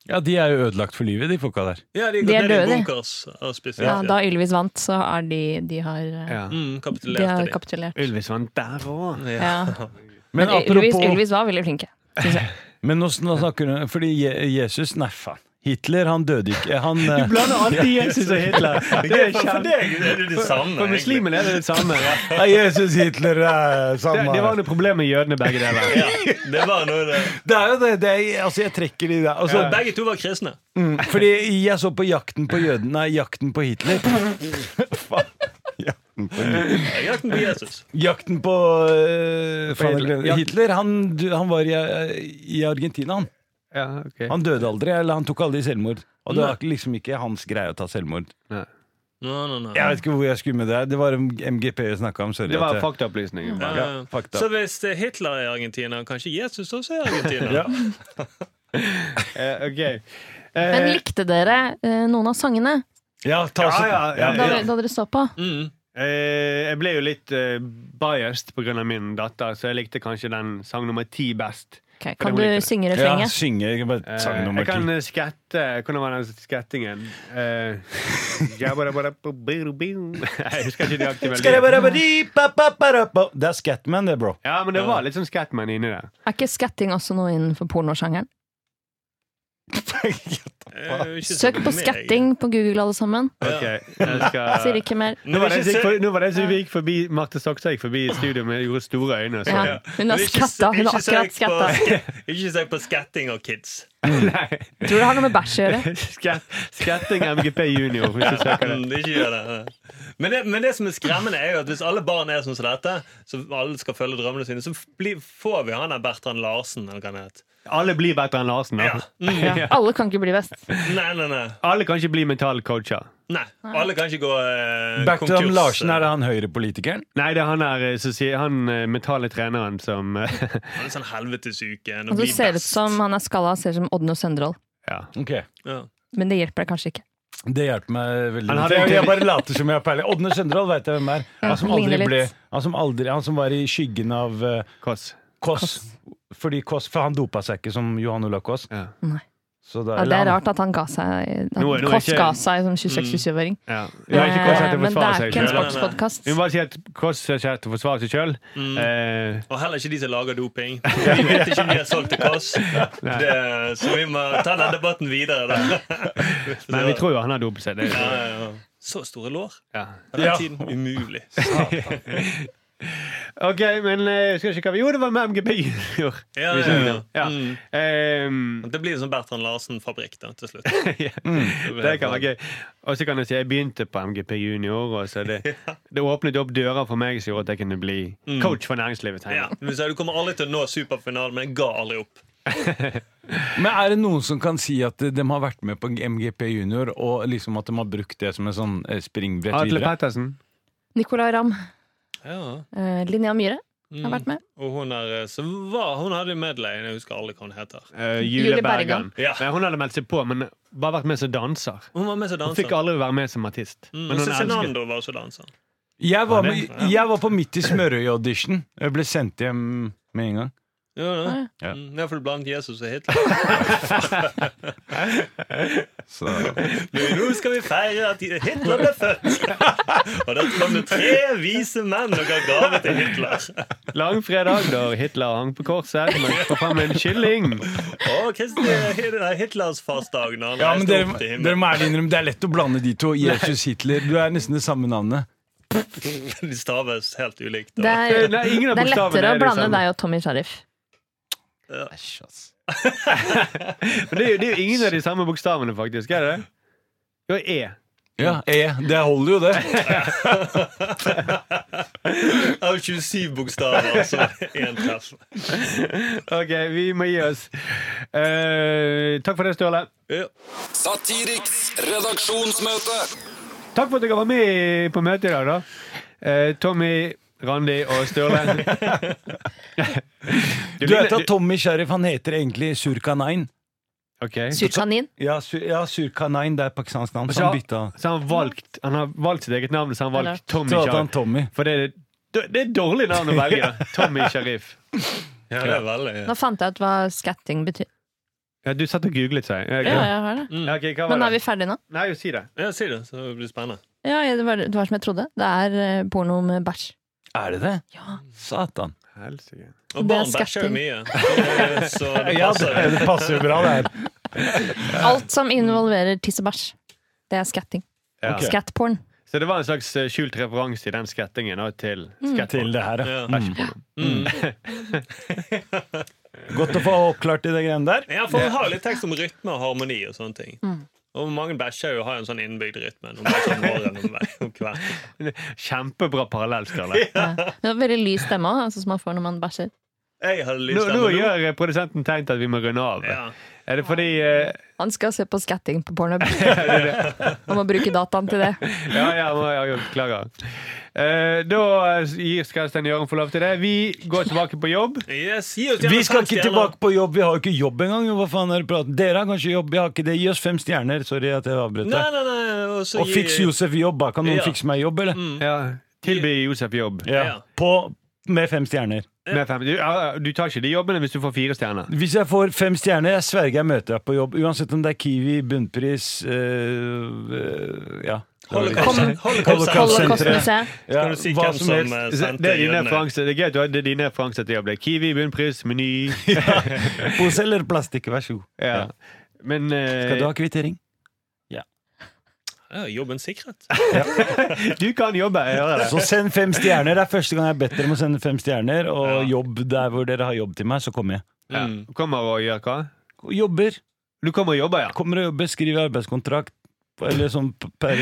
B: Ja, de er jo ødelagt for livet, de folka der.
F: Ja, de,
E: De er
F: er døde.
E: døde.
F: Bunkers, og spesielt,
E: Ja,
F: ja.
E: da Ylvis vant, så er de De har, eh,
C: ja.
F: Mm, kapitulerte
E: de har
F: de.
E: kapitulert.
C: Ylvis vant der òg.
E: Ja.
B: Men
E: Men Ylvis,
B: apropos
E: Ylvis var veldig flinke.
B: Men nå, sn- nå snakker hun Fordi Je- Jesus Nei, faen. Hitler, han døde ikke Han, eh,
C: Blander alltid Jesus og Hitler. Det er
F: For
C: kjempe...
F: deg er det [laughs] det samme.
C: For
F: egentlig.
C: muslimene er det det samme.
G: Ja, Jesus, Hitler, eh,
C: Det,
G: samme
C: det var noe problem med jødene, begge deler.
F: Ja, det var noe det. [laughs]
B: det er jo det, det er, altså Jeg trekker de der. Altså,
F: Og begge to var kristne.
B: Mm, Fordi jeg så på Jakten på jøden Nei, Jakten på
C: [laughs]
B: Hitler. Faen. Jakten på,
F: Jakten på Jesus.
B: jakten på, eh, faen, jeg glemmer-
C: Hitler.
B: Hitler han, du- han var i, i Argentina, han.
C: Ja, ok.
B: Han døde aldri, eller han tok aldri selvmord. Og det var liksom ikke hans greie å ta selvmord.
C: Nei.
F: No, no, no.
B: Jeg vet ikke hvor jeg skulle med det. Det var MGP jeg snakka om. Sorry.
C: Det
B: at
C: var
B: jeg-
C: faktaopplysninger.
F: Ja,
B: Ja,
F: ja.
B: fakta.
F: Så hvis eh, Hitler er i Argentina, kanskje Jesus også er i [laughs] Argentina?
B: Ja.
C: Eh, ok.
E: Men
C: Eh,
E: likte dere eh, noen av sangene
B: ja, ta
C: Ja,
B: så-
C: ja, ja,
E: da, da dere så på?
F: Mm.
C: eh, jeg ble jo litt eh, biased pga. min datter, så jeg likte kanskje den sang nummer ti best.
E: Ok,
C: det
E: kan
C: var
E: du
C: litt-
E: synge
B: Ja,
E: refrenget?
B: synge. Jeg kan
C: Eh,
B: bare sang nummer
C: jeg kan
B: ti.
C: eh, skette Hvordan var den skattingen? Eh, jabba-dabba-dabba-biru-biru. jeg husker ikke nøyaktig melodien.
B: Skarabarabadi-pa-pa-pa-ra-pa. Det er Scatman, det, bro.
C: Ja, men det var litt sånn Scatman inni der.
E: Er ikke skatting også noe innenfor pornosjangeren?
F: Jeg Eh, er jo ikke så
E: Søk på
F: meg.
E: skatting på Google, alle sammen.
C: Ok, jeg
E: Sier
C: skal...
E: ikke mer.
C: Nå var det som gikk
F: Ikke
C: for- nå var det som gikk forbi Marte Stokstad gikk forbi i studio med gjorde store øyne. Så.
E: Ja, hun har
F: Ikke-
E: skatta. Hun har
F: ikke søk
E: akkurat skatta.
F: på- [laughs] Ikke søk på skatting og kids.
C: Nei. [laughs]
E: Tror det har noe med bæsj å gjøre.
C: Skatt, skatting MGP junior, hvis du søker det.
F: Mm, Ikke gjør det. Men det, men det som er skremmende, er jo at hvis alle barn er sånn som dette, så alle skal følge drømmene sine, så blir, får vi han der Bertrand Larsen, eller hva han het.
C: Alle blir bedre enn Larsen. Da.
F: Ja. Mm.
E: Ja. Alle kan ikke
C: [laughs]
E: bli best. Altså,
F: Nei, nei, nei.
C: Alle kan ikke bli mentale coacher.
F: nei. Alle kan ikke gå eh,
B: Bertrand
F: konkurs.
B: Larsen er det han høyrepolitikeren?
C: Nei, det er han der eh, som sier Han eh, mentale treneren som eh, [laughs]
F: Han er sånn helvetesuke.
E: Og så ser det ut som han er skalla, ser ut som Odne og Søndrål.
C: Ja.
B: Okay.
F: ja.
E: Men det hjelper deg kanskje ikke.
B: Det hjalp meg veldig.
C: Han hadde
B: lite. jeg,
C: egentlig-
B: jeg bare later som jeg har peiling. Ådne Søndral veit jeg hvem er. Han som, aldri
E: ligner litt.
B: ble, han, som aldri, han som var i skyggen av eh,
C: Kåss.
B: Kåss. Fordi Kåss, For han dopa seg ikke som Johan Olav Kåss.
C: Ja.
E: Nei.
B: Så da-
E: Ja, det
B: eller
E: er
B: han-
E: rart at han ga seg at
C: Nå er- nå er
E: Kåss
C: ikke- Mm.
E: ga seg som 26-27-åring.
C: Ja. Det er ikke Kåss
E: Eh,
C: heter
E: Men det
C: forsvarer
E: er
C: seg
E: ikke en
F: Nei, nei,
C: sjøl.
F: nei.
E: sportspodkast.
C: Vi må bare si at Kåss er ikke her til å forsvare seg sjøl.
F: Mm.
C: Eh,
F: Og heller ikke de som lager doping.
C: [laughs]
F: Vi vet ikke om de har solgt til Kåss. Det, så vi må ta den debatten videre. Da.
C: [laughs] men vi tror jo han har dopet seg. Det,
F: [laughs] ja,
C: er-
F: ja, ja. Så store lår.
C: ja.
F: På den
B: Ja.
F: tiden umulig.
C: OK, men eh, jeg husker ikke hva vi Jo, det var med MGP junior.
F: Ja,
C: Vi
F: ja,
C: så
F: ja.
C: det. Ja.
F: Mm.
C: Eh,
F: Det blir en sånn Bertrand Larsen-fabrikk da, til slutt.
C: [laughs]
F: [laughs]
C: ja. Mm. Det kan være gøy. Og så kan jeg si jeg begynte på MGP junior. Og så
F: [laughs]
C: det, det åpnet opp dører for meg som gjorde at jeg kunne bli coach for næringslivet.
F: Mm. Ja,
C: tenker jeg.
F: men så Du kommer aldri til å nå superfinalen, men jeg ga aldri opp.
B: Men er det noen som kan si at eh, de har vært med på MGP Junior, og liksom at de har brukt det som en sånn eh, springbrett
C: Atle
B: videre?
C: Pettersen.
E: Nicolay Ramm.
F: Ja.
E: eh, Linnea Myhre
C: Mm.
E: har vært med.
F: Mm. Og hun, er, eh, så var, hun hadde jo medley. Jeg husker aldri hva hun heter.
C: eh,
E: Julie
C: Julie Bergan.
E: Bergan.
F: Ja.
C: Nei, hun hadde meldt seg på, men bare vært med som danser.
F: Hun var med som
C: Hun fikk
F: danser.
C: aldri være med som artist.
F: Mm,
C: Men
F: og
C: hun elsket
F: Cezinando var også danser.
B: Jeg var,
C: det?
B: med, jeg var på midt i Smørøy-audition. Jeg ble sendt hjem med en gang.
F: Ja, ja.
B: Ja.
F: Mm, I hvert fall blant Jesus og Hitler. [laughs]
B: Så.
F: Nå skal vi feire at Hitler ble født! og da kom det tre vise menn og ga gave til Hitler.
C: Langfredag, da Hitler hang på korset.
F: [laughs]
C: Men få fram en kylling!
F: Og Kristi nei, Hitlers farsdag når han
B: Ja, men
F: reiste
B: dere,
F: opp til
B: dere
F: himmelen.
B: må ærlig innrømme, det er lett å blande de to. Jesus Hitler. Du er nesten det samme navnet.
F: De staves helt ulikt. og-
E: Det er,
C: Nei, ingen av
E: det
C: bokstavene er
E: er lettere
C: liksom-
E: å
C: det
E: blande
C: samme.
E: deg og Tommy Sheriff.
C: Men det er, jo, det er jo ingen av de samme bokstavene, faktisk. Er det det? Jo, E.
B: Ja, E. Det holder jo, det.
F: Av 27 bokstaver, så én treff.
C: Ok, vi må gi oss. Eh, takk for det, Ståle.
F: Ja.
D: Satiriks redaksjonsmøte.
C: Takk for at dere var med på møtet i dag, da. Eh, Tommy, Randi og
B: [laughs]
C: Sturle. Du
B: Du vet at Tommy Sheriff han heter egentlig Surkanein.
C: Ok.
E: Surkanin.
B: Ja, Sur, ja, Surkanein. Det er pakistansk navn. Så
C: Så-
B: han bytta
C: Så han, valgt, han har valgt sitt eget navn, så han har valgt Tommy
B: Så hadde han
C: Sharif.
B: Tommy.
C: For det er, det er et dårlig navn å
B: [laughs]
C: velge. da. Tommy Sharif.
F: Ja, det er veldig
E: Nå fant jeg ut hva skatting betyr.
C: Ja, du satt og googlet seg. Ja, Mm. ok.
E: Ja, jeg har det.
C: Ja, ok, hva var
E: Men er
C: det?
E: vi ferdige nå?
C: Nei, jo, si det.
F: Ja, Si det, så det blir spennende.
E: Ja, ja, det var, det var som jeg trodde. Det er eh, porno med bæsj.
B: Er det det?
E: Ja.
B: Satan.
C: Helsike.
F: Og
E: Det er
F: barn bæsjer jo
E: skatting.
F: mye, så det
B: Ja,
F: passer.
B: Altså, det, det passer jo bra, det her.
E: Alt som involverer tiss og bæsj. Det er skatting.
C: Ja.
E: Skatporn Skattporn.
C: Så det var en slags eh, skjult referanse i den skattingen da, til
B: til
C: skatting.
B: det her. Ja. Mm.
F: Ja.
B: [laughs] Godt å få oppklart i det greiene der.
F: Ja, for vi har jo litt tekst om rytme og harmoni og sånne ting. Og mange bæsjer jo har jo en sånn innebygd rytme. Noen bæsjer om morgenen, om hver- om kvelden.
E: Mm.
C: [laughs] Kjempebra parallell, Skarle.
E: Det var veldig lys stemme også, altså, som man får når man bæsjer.
F: Jeg hadde lyst
C: Nå,
F: til
C: nå
F: å
C: gjør eh, produsenten tegn til at vi må runde av.
F: Ja.
C: Er det fordi eh,
E: Han skal se på skatting på porno. Man må bruke dataen til det.
C: Ja, ja, må, ja jo, beklager. Eh, da gir Skarstein Jøren få lov til det. Vi går tilbake på jobb.
F: Yes, gi oss gjerne
B: Vi skal ikke
F: fem stjerner.
B: tilbake på jobb, vi har jo ikke jobb engang. Hva faen er det prat? Dere har kanskje jobb, jeg har ikke det. Gi oss fem stjerner. Sorry at jeg avbrøt
F: Nei,
B: deg.
F: nei, nei. Og, så
B: Og
F: gi-
B: fiks Josef jobb, da. Kan noen
F: Ja.
B: fikse meg jobb, eller?
C: Ja, Tilby Josef jobb.
B: Mm, Ja.
F: Ja.
B: På, med fem stjerner.
C: Med fem. Du, ja, du tar ikke de jobbene hvis du får fire stjerner.
B: Hvis jeg får fem stjerner, jeg sverger jeg møter deg på jobb. Uansett om det er Kiwi, bunnpris øh, øh, Ja.
F: Holocaust- Holocaust.
B: Holocaust-senteret.
E: Holocaustmuseet.
B: ja
F: Kan du si
B: hva
F: hvem som
B: helst.
F: eh,
C: Det
F: sendte
C: er dine
F: jødene?
C: referanser. Det er gøy at du hadde dine referanser til jobb. Det er Kiwi, bunnpris, [laughs] Meny.
F: eh,
B: Pose eller plastikk, vær så god.
C: Ja. Men eh,
B: Skal du ha kvittering?
F: Ja, jobben sikret.
C: du kan jobbe. Jeg hører det.
B: Så send fem stjerner. Det er første gang jeg har bedt dere om å sende fem stjerner. Og jobb der hvor dere har jobb til meg, så kommer jeg.
C: Ja.
F: Mm.
C: Kommer og gjør hva?
B: Jobber.
C: Du kommer og jobber, ja.
B: Kommer og jobber, skriver arbeidskontrakt. Eller sånn p- per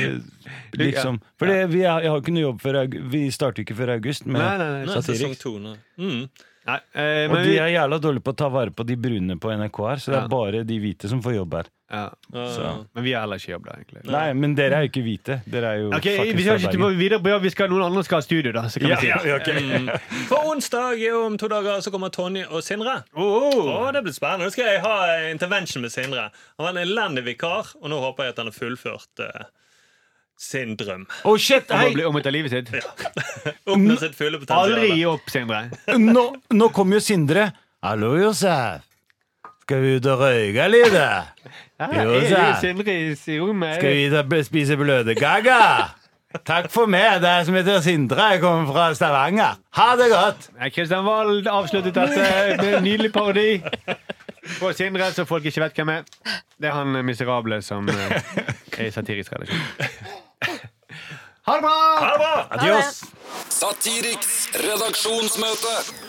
B: liksom. For det- vi har- jeg har jo ikke noe jobb før august. Vi starter jo ikke før august. Men,
C: Nei, nei, nei.
F: Nå er sesong to nå. Mm.
C: nei. eh,
B: og
C: men
B: de
C: vi,
B: er jævla dårlige på å ta vare på de brune på NRK her, så det er
C: Ja.
B: bare de hvite som får jobb her.
C: ja.
F: Ah.
C: Men vi har heller ikke jobb, da, egentlig.
B: Nei, men dere er jo ikke hvite. Dere er jo
C: Ok,
B: fuckings
C: vi skal ikke
B: fra
C: tilbake
B: Bergen.
C: videre på jobb. Vi skal, noen andre skal ha studio, da. Så kan vi si.
B: Ja, ja, ok. [laughs]
F: Mm. For onsdag er jo om to dager så kommer Tonje og Sindre.
B: Oh,
C: Oh,
F: Å, det blir spennende. Nå skal jeg ha eh, intervention med Sindre. Han var en elendig vikar, og nå håper jeg at han har fullført eh, sin drøm.
B: Å, Oh, shit,
C: Om å
B: hei!
C: bli omvendt av livet sitt.
F: Oppnå sitt fulle
C: Aldri gi
F: potensial.
C: opp, Sindre.
B: Nå, nå kom jo Sindre. Hallo, Josef. Skal vi ut og røyke litt? da?
C: Ja,
B: Jo,
C: er
B: sa.
C: du Sindre i i rommet?
B: Skal vi ut og spise bløtkaker? Takk for meg. Det er som heter Sindre. Jeg kommer fra Stavanger. Ha det godt.
C: Nei, Kristian Vald avsluttet dette med en nydelig parodi. På Sindre, så folk ikke vet hvem er. Det er han eh, miserable som eh, er i satirisk redaksjon. Ha det bra!
B: Adios.
D: Satiriks redaksjonsmøte.